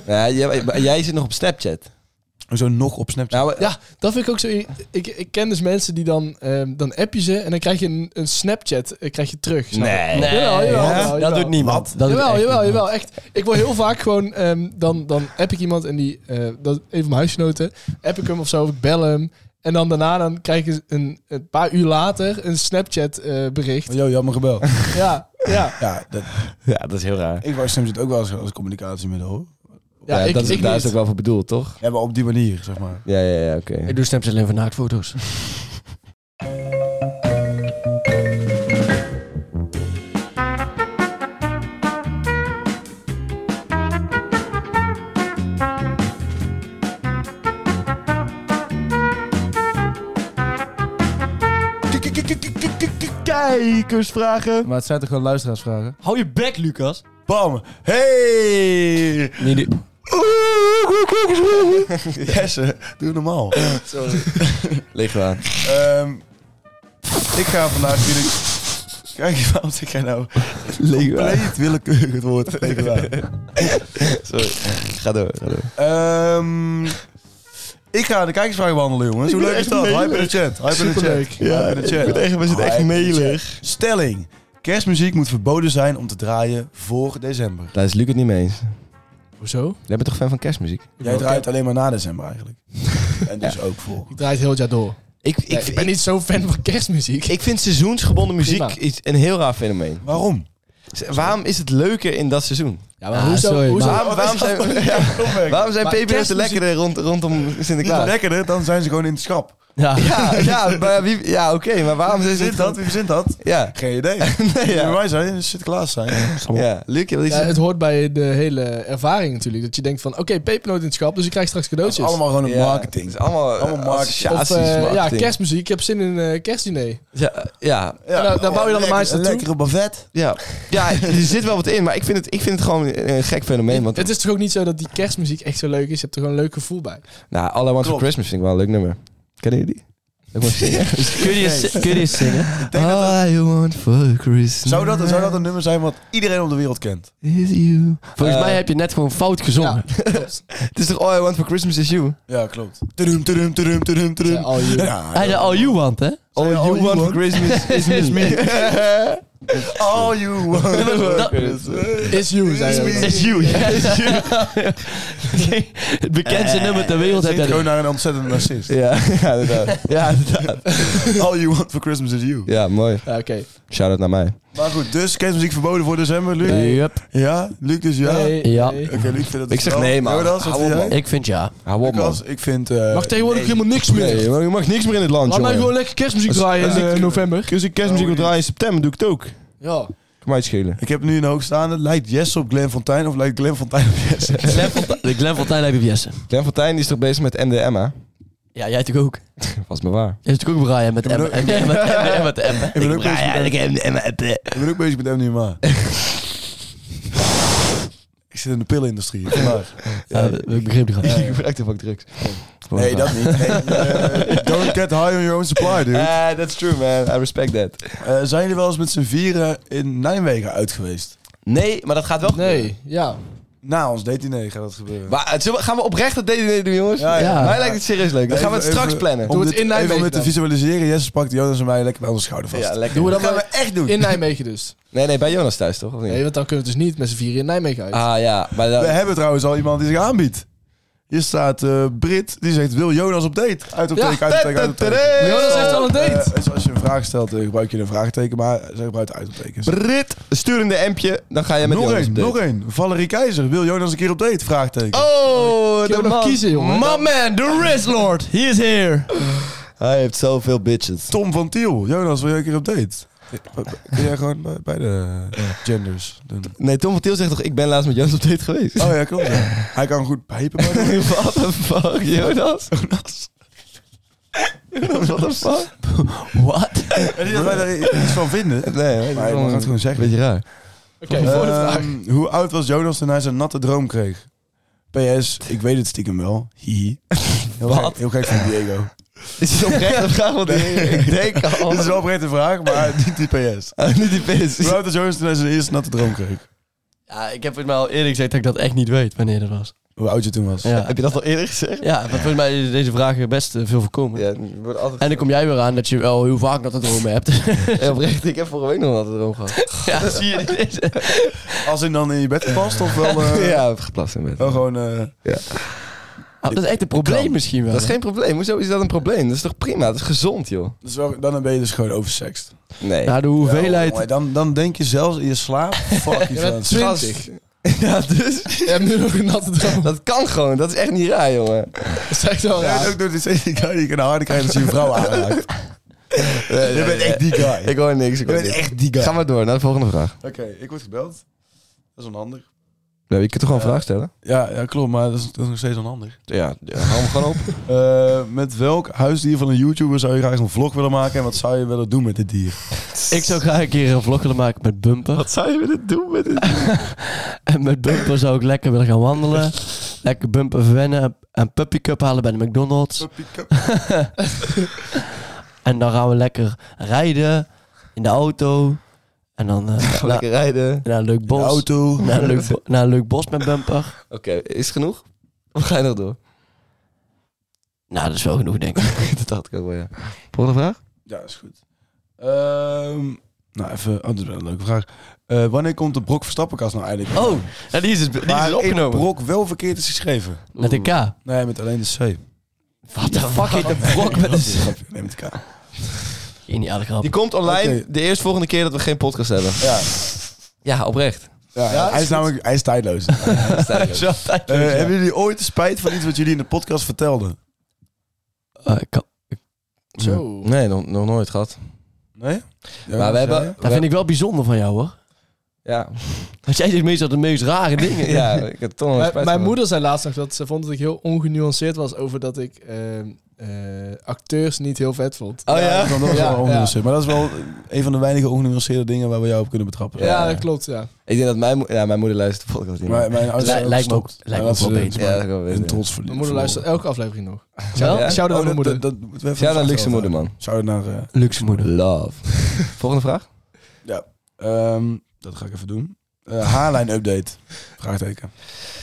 S3: Ja, jij, jij zit nog op Snapchat.
S4: Zo nog op Snapchat.
S3: Nou,
S6: Ja, dat vind ik ook zo. Ik, ik ken dus mensen die dan, ehm, dan app je ze en dan krijg je een, een Snapchat eh, krijg je terug. snap je?
S3: Nee.
S5: Nee,
S6: Jawel, jawel,
S5: hè?
S6: jawel,
S5: dat
S6: jawel.
S5: doet niemand. Dat doet
S6: jawel,
S5: echt
S6: jawel,
S5: niemand.
S6: jawel, echt. Ik word heel vaak gewoon, ehm, dan, dan app ik iemand en die, eh, dat, een van mijn huisgenoten, app ik hem of zo, of ik bel hem. En dan daarna dan krijg ik een, een paar uur later een Snapchat eh, bericht.
S4: Yo, Oh, jammer gebeld.
S6: Ja, ja.
S4: Ja, dat,
S3: Ja, dat is heel raar.
S4: ik was Snapchat ook wel eens als communicatiemiddel. hoor.
S6: ja, ik,
S3: dat is,
S6: ik
S3: daar
S6: niet.
S3: is ook wel voor bedoeld, toch?
S4: Ja, maar op die manier, zeg maar.
S3: Ja, ja, ja, oké.
S5: Ik doe Snapchat alleen voor naaktfoto's.
S3: Kijkersvragen.
S7: Maar het zijn toch gewoon luisteraarsvragen?
S5: Hou je bek, Lucas.
S4: Bam! Hey!
S5: Nee, die-
S4: Jesse, doe normaal.
S3: Leeg aan.
S4: Ehm, ik ga vandaag natuurlijk... Kijk eens, waarom zeg jij nou compleet willekeurig het woord tegen
S3: Sorry. Ga door, ga door.
S4: Ehm, Ik ga de kijkersvragen behandelen, jongens. Hoe
S3: Ik
S4: leuk
S3: ben
S4: is dat?
S3: echt
S4: Hype in de chat. Hype in de chat.
S6: Superleuk.
S4: Hype in de chat.
S3: ik ben echt- we zitten echt
S4: Hype in de chat.
S3: melig.
S4: Stelling. Kerstmuziek moet verboden zijn om te draaien voor december.
S3: Daar is Luc het niet mee eens.
S6: Hoezo?
S3: Jij bent toch fan van kerstmuziek?
S4: Jij draait alleen maar na december eigenlijk. en dus ook voor.
S6: Ik draai het heel het jaar door.
S3: Ik, ik,
S6: Nee, Ik, ben niet zo fan van kerstmuziek.
S3: ik vind seizoensgebonden muziek
S6: Prima.
S3: iets- een heel raar fenomeen.
S4: Waarom?
S3: Z- Waarom is het leuker in dat seizoen?
S6: Ja, maar
S5: Ah,
S6: hoezo?
S5: sorry,
S6: hoezo?
S5: maar-
S3: Waarom, waarom zijn, ja, waarom zijn
S6: Maar
S3: pepernoten
S6: kerstmuziek-
S3: lekkerder rond, rondom Sinterklaas?
S4: Lekkerder, dan zijn ze gewoon in het schap.
S5: Ja.
S3: Ja, ja, maar wie- ja oké, maar waarom
S4: Wie
S3: is
S4: verzint
S3: het...
S4: dat? Wie verzint dat?
S3: Ja,
S4: Geen idee.
S3: nee,
S4: Wie
S3: ja.
S4: wij zijn, Sinterklaas zijn.
S3: ja. Luc, je wil iets
S6: Ja, het hoort bij de hele ervaring natuurlijk. Dat je denkt van, oké, pepernoot in het schap, dus ik krijg straks
S4: Dat is
S6: cadeautjes.
S4: allemaal gewoon een
S3: Ja,
S4: marketing.
S3: het is allemaal,
S4: Allemaal
S3: eh,
S4: marketing.
S6: of
S3: associaties,
S6: eh, ja,
S3: marketing.
S6: kerstmuziek. Ik heb zin in eh kerstdiner.
S3: Ja, ja,
S4: Ja,
S6: Nou, daar bouw je dan de
S4: lekker-
S6: maatjes naartoe.
S4: lekkere bavet.
S3: ja. ja, er zit wel wat in, maar ik vind het, ik vind het gewoon een gek fenomeen. Want
S6: Het is toch ook niet zo dat die kerstmuziek echt zo leuk is. Je hebt er gewoon een leuk gevoel bij.
S3: Nou, All I Want for
S4: Klopt.
S3: Christmas vind ik wel een leuk nummer. Kennen jullie? Dat moet ik zingen.
S5: Kun je die eens- kun je die eens zingen?
S4: Ik denk dat dat-
S3: All I Want for Christmas
S4: zou, dat, zou dat een nummer zijn wat iedereen op de wereld kent?
S3: is you.
S5: Volgens
S3: Eh,
S5: mij heb je net gewoon fout gezongen.
S3: Het is toch All I Want for Christmas is you?
S4: Ja, klopt. Tudum, tudum, tudum, tudum, tudum.
S6: Ja, al je-
S4: Ja,
S5: Hij de All You Want, hè?
S3: All, you, want, for Christmas is me.
S5: Is
S4: All you
S5: Dat-
S6: Is you, zei hij dan.
S5: Is You. ja. Het bekendste nummer ter wereld heb
S4: Zit
S5: jij
S4: gewoon
S5: er.
S4: naar een ontzettende narcist.
S3: ja, ja, inderdaad. Ja, inderdaad.
S4: All you want for Christmas is you.
S3: Ja, mooi.
S6: Ja, oké.
S3: Shout-out naar mij.
S4: Maar goed, dus kerstmuziek verboden voor december, Luc?
S5: Yep.
S4: Ja, Luc dus ja.
S6: Nee,
S5: Ja.
S6: nee.
S4: Oké, Luc vindt het
S3: Ik zeg
S4: wel.
S3: nee, man.
S4: Jonas, wat
S3: Hou op,
S4: vind jij?
S3: man.
S5: Ik vind ja.
S3: Hou op, man.
S4: Lucas, ik vind... eh,
S6: Mag tegenwoordig
S4: nee.
S6: helemaal niks meer.
S3: Nee, maar je mag niks meer in dit land,
S6: Laat mij
S3: jongen.
S6: gewoon lekker kerstmuziek
S3: Als-
S6: draaien
S3: als
S6: in
S3: ik-
S6: eh, november.
S3: Als ik kerstmuziek wil draaien in september, doe ik het ook. Kan
S6: Ja.
S3: mij het schelen.
S4: Ik heb nu een hoogstaande. Lijkt Jesse op Glenn Fontijn of lijkt Glenn Fontijn op Jesse?
S5: Glenn Fonta- De Glenn Fontijn heb je op Jesse.
S3: Glenn Fontijn is toch bezig met MDMA?
S5: Ja, jij toch ook?
S3: Was maar waar.
S5: Is het ook Brian met
S4: ben
S5: Emma?
S4: ook-
S5: Met Emma, met Emma.
S4: ben ook bezig met-
S5: Emma.
S4: ik ben ook bezig met MDMA. ik zit in de pillenindustrie. vandaag.
S5: eh, Ja, ik begreep die grap.
S3: Ik gebruik toch ook drugs?
S4: Nee, dat niet. Nee, eh, don't get high on your own supply, dude.
S3: Ah, that's true, man. I respect that.
S4: Eh, zijn jullie wel eens met z'n vieren in Nijmegen uit geweest?
S3: Nee, maar dat gaat wel
S6: Nee, ja.
S4: Na ons DT9 gaat dat gebeuren.
S3: Maar, eh, zullen we- gaan we oprecht dat DDD doen, jongens?
S4: Ja, ja.
S3: Mij lijkt het serieus leuk. Dan gaan we het
S4: Even-
S3: straks
S4: even-
S3: plannen.
S6: Doe
S4: Om
S6: het
S4: dit
S6: in Nijmegen
S4: Even om dit te
S6: dan.
S4: visualiseren. Jesse pakt Jonas en mij lekker bij onze schouder vast.
S3: Ja, lekker.
S6: Doen we dat
S4: dat gaan we
S6: maar
S4: echt doen.
S6: in Nijmegen dus.
S3: Nee, nee, bij Jonas thuis, toch? Of niet?
S6: Nee, want dan kunnen we dus niet met z'n vieren in Nijmegen uit.
S3: Ah ja, maar
S4: We
S3: dan...
S4: hebben trouwens al iemand die zich aanbiedt. Hier staat eh Brit, die zegt, wil Jonas op date? Uit op
S6: Ja,
S4: teken, uit op teken, uit op teken.
S3: Tudu!
S6: Jonas heeft al een date.
S4: Eh, dus als je een vraag stelt, eh, gebruik je een vraagteken, maar zij gebruikt uitroeptekens.
S3: Brit, sturende empje, dan ga jij met
S4: Nog
S3: Jonas
S4: één,
S3: op date.
S4: nog één. Valerie Keizer, wil Jonas een keer op date? Vraagteken.
S3: Oh,
S6: Kunnen
S3: de
S6: we nog
S3: man.
S6: kiezen, jongen?
S3: Man, man, de wrist lord.
S5: Lord, he is here.
S3: Hij heeft zoveel bitches.
S4: Tom van Tiel, Jonas, wil jij een keer op date? Kun jij gewoon bij, bij de eh, genders doen?
S3: Nee, Tom van Til zegt toch, ik ben laatst met Jonas op date geweest.
S4: Oh ja, klopt. ja. Hij kan goed pijpen, maar dan-
S3: What the fuck, Jonas? Jonas. Jonas, what the fuck?
S5: What?
S4: En niet dat wij daar iets van vinden.
S3: Nee, weet ik
S4: Maar je
S3: wel.
S4: mag het gewoon zeggen.
S3: Beetje raar.
S6: Oké, voor de vraag.
S4: Ehm, hoe oud was Jonas toen hij zijn natte droom kreeg? PS, ik weet het stiekem wel. Hihi. Heel
S3: Wat?
S4: gek- heel gek van Diego.
S3: Is het oprecht een vraag? Want ik denk al...
S4: Dit is wel oprecht een vraag, maar niet die PS.
S3: Ah, niet die pis.
S4: Hoe oud was Jonas toen hij zijn eerste natte droom kreeg?
S5: Ja, ik heb het maar al eerlijk gezegd dat ik dat echt niet weet wanneer dat was.
S4: Hoe oud je toen was?
S5: Ja,
S3: Heb je dat al eerder gezegd?
S5: ja maar volgens mij is deze vragen best eh, veel voorkomen.
S3: Ja, het wordt altijd...
S5: En dan kom jij weer aan dat je wel heel vaak dat dromen hebt.
S3: Ja, oprecht, ik heb vorige week nog wat erom gehad.
S5: ja, zie je dit?
S4: Als hij dan in je bed past of wel... eh,
S3: Ja, heb geplast in bed.
S4: Wel gewoon... eh,
S5: Ah, dat is echt een probleem misschien wel.
S3: Dat is geen probleem. Hoezo is dat een probleem? Dat is toch prima? Dat is gezond, joh.
S4: dus wel- dan ben je dus gewoon oversext.
S3: Nee.
S5: Nou, de
S4: Ja,
S5: hoeveelheid...
S4: jongen, dan, dan denk je zelfs in je slaap... Fuck,
S6: Je
S4: je
S6: bent
S3: Gast.
S6: 20.
S3: Ja, dus...
S6: Je hebt nu nog een natte droom.
S3: Dat kan gewoon. Dat is echt niet raar, jongen.
S6: Dat is echt wel
S4: Oh, Ja,
S6: raar.
S4: ook door die die guy die ik een harde krijg dat je een vrouw aanraakt. Je bent echt die guy.
S3: Ik hoor niks. Ik
S4: Je
S3: hoor
S4: bent
S3: niks.
S4: echt die guy.
S3: Ga maar door naar de volgende vraag.
S4: Oké, ik word gebeld. Dat is onhandig.
S3: Nee, je kunt toch gewoon
S4: Eh,
S3: een vraag stellen?
S4: Ja, ja klopt, maar dat is, dat is nog steeds onhandig.
S3: Ja, hou hem gewoon op.
S4: Eh, met welk huisdier van een YouTuber zou je graag een vlog willen maken en wat zou je willen doen met dit dier?
S5: Ik zou graag een keer een vlog willen maken met Bumper.
S3: zou je willen doen met dit?
S5: En met Bumper zou ik lekker willen gaan wandelen. Lekker Bumper verwennen. Een puppy cup halen bij de McDonald's. En dan gaan we lekker rijden. In de auto. En dan eh, na-
S3: Lekker rijden.
S5: naar een leuk
S4: De
S5: bos.
S4: auto.
S5: Naar een leuk, bo- naar een leuk bos met Bumper.
S3: Oké, is het genoeg? Of ga je nog door?
S5: Nou, dat is wel genoeg, denk ik.
S3: dat dacht ik ook wel, ja. Volgende vraag?
S4: Ja, is goed. Ehm, nou, even... Oh, dit is wel een leuke vraag. Eh, wanneer komt de Brok Verstappenkast nou eigenlijk?
S5: Oh, ja, die is, die
S4: Waarin
S5: is opgenomen.
S4: Brok wel verkeerd is geschreven.
S5: Met een K.
S4: Nee, met alleen de C.
S5: Wat de fuck heet de brok met
S4: Dat
S5: een
S4: is een
S5: Z?
S4: grapje. Nee, met de K.
S5: Geniale grap.
S3: Die komt online
S4: Oké.
S3: de eerstvolgende keer dat we geen podcast hebben.
S4: Ja,
S5: Ja, oprecht.
S4: ja,
S3: Ja,
S4: hij
S3: is
S4: is namelijk hij is tijdloos.
S5: Zo, tijd.
S4: Eh, hebben jullie ooit spijt van iets wat jullie in de podcast vertelden?
S5: Eh, ik kan-
S6: Zo.
S3: Nee, nog, nog nooit gehad.
S4: Nee? Ja,
S3: maar we
S4: zei
S3: hebben...
S4: je?
S5: Dat vind ik wel bijzonder van jou, hoor.
S3: Ja,
S5: Want jij zegt meestal de meest rare dingen.
S3: ja, ik heb toch nog
S6: Mijn-
S3: spijt van.
S6: mijn moeder zei laatst nog dat ze vond dat ik heel ongenuanceerd was over dat ik ehm, eh, acteurs niet heel vet vond.
S3: Oh ja?
S4: dat is wel
S6: Ja,
S4: ongenuanceerd. Maar dat is wel een van de weinige ongenuanceerde dingen waar we jou op kunnen betrappen.
S6: Ja, dat klopt, ja.
S3: Ik denk dat mijn, mo- ja, mijn moeder luistert de podcast niet meer.
S4: Maar mijn ouders
S5: Lij-
S4: zijn
S5: lijkt me ook-
S4: gestopt.
S5: lijkt me
S4: Ja,
S5: ook wel
S4: ze-
S5: beter.
S4: ze-
S3: Ja, dat kan wel
S4: Een
S3: beter.
S4: trots verlie-
S6: Mijn moeder luistert
S4: verloren.
S6: elke aflevering nog.
S5: Wel?
S3: Ja?
S6: Shout-out aan mijn moeder.
S4: Oh, Dat, dat, dat, moeten we even
S3: Shout out
S4: vasthouden.
S3: Luxe moeder, man.
S4: Shout-out naar... eh,
S5: Luxe moeder.
S3: Love. Volgende vraag?
S4: Ehm, dat ga ik even doen. Eh haarlijn update. Vraagteken.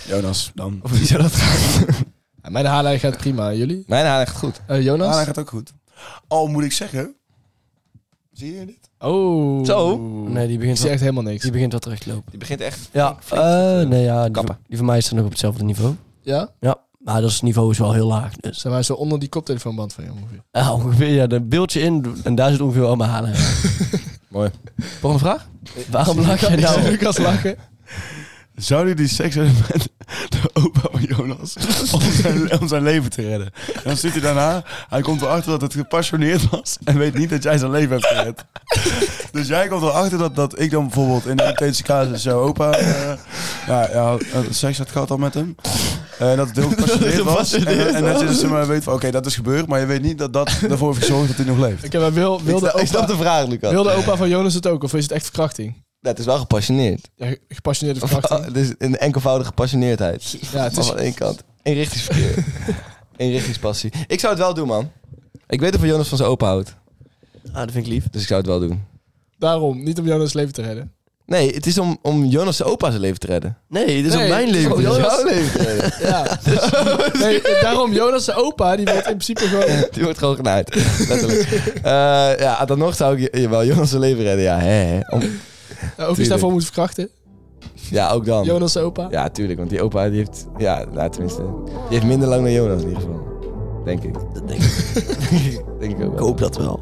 S4: Jonas, dan.
S3: Of wie zou dat gaan?
S6: Ja, mijn haarlijn gaat prima. Jullie?
S3: Mijn haar echt goed.
S6: Eh, Jonas?
S4: Haarlijn gaat ook goed. Al moet ik zeggen. Zie je dit?
S6: Oh.
S3: Zo?
S5: Nee, die
S6: Ik
S5: begint,
S6: zie
S5: wel,
S6: echt helemaal niks.
S5: die begint wel terug te lopen.
S3: Die begint echt...
S5: Ja,
S3: flink
S5: eh, nee, ja die,
S3: kappen.
S5: die van mij is dan nog op hetzelfde niveau.
S6: Ja?
S5: Ja, maar dat is- niveau is wel heel laag. Dus.
S6: Zijn wij zo onder die koptelefoonband van je ongeveer?
S5: Ja, ongeveer, ja, een beeldje in en daar zit ongeveer al mijn halen.
S3: Mooi. Volgende vraag?
S5: Waarom lach jij
S6: Ik zie
S5: nou?
S6: Lucas lachen.
S4: Zou die die seks hebben met de opa van Jonas om zijn, om zijn leven te redden? En dan zit hij daarna, hij komt erachter dat het gepassioneerd was en weet niet dat jij zijn leven hebt gered. Dus jij komt erachter dat, dat ik dan bijvoorbeeld in de intense casus jouw opa eh, ja, ja, eh, seks had gehad al met hem. En dat het heel gepassioneerd was. En, en dat je dus maar weet van oké, dat is gebeurd, maar je weet niet dat dat ervoor heeft gezorgd dat hij nog leeft.
S6: Ik heb wel wil,
S3: Ik
S6: wilde,
S3: snap- ik snap
S6: opa,
S3: de vraag, Lucas.
S6: wilde opa van Jonas het ook? Of is het echt verkrachting?
S3: Ja, het is wel gepassioneerd.
S6: Ja, ge- gepassioneerde
S3: Of-
S6: verkrachting.
S3: Het is een enkelvoudige gepassioneerdheid.
S6: Ja, het
S3: Maar
S6: is...
S3: van één kant. Eenrichtingsverkeer. Eenrichtingspassie. Ik zou het wel doen, man. Ik weet dat van Jonas van zijn opa houdt.
S5: Ah, dat vind ik lief.
S3: Dus ik zou het wel doen.
S6: Daarom, niet om Jonas leven te redden.
S3: Nee, het is om, om Jonas zijn opa zijn leven te redden.
S5: Nee, dit is
S6: Nee,
S5: op mijn
S6: het is
S5: leven. dus
S6: op jouw
S5: Ja.
S3: Jouw leven te redden.
S6: Oh, Ja. Nee, daarom, Jonas' opa, die wordt in principe gewoon...
S3: Die wordt gewoon genaaid. Letterlijk. Eh, ja, dan nog zou ik je, wel Jonas zijn leven redden. Ja, hè, hè. Om-
S6: Nou, Of je daarvoor moet verkrachten.
S3: ja, ook dan.
S6: Jonas' opa.
S3: Ja, tuurlijk. Want die opa die heeft... Ja, nou, tenminste. Die heeft minder lang dan Jonas in ieder geval. Denk ik.
S5: Dat denk ik.
S3: Denk ik ook
S5: Ik
S3: wel.
S5: hoop dat wel.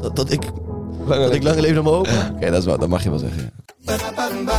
S5: dat, dat ik,
S3: Langer
S5: dat ik
S3: lang-
S5: langer leef dan mijn opa.
S3: Oké, dat, is wel- dat mag je wel zeggen.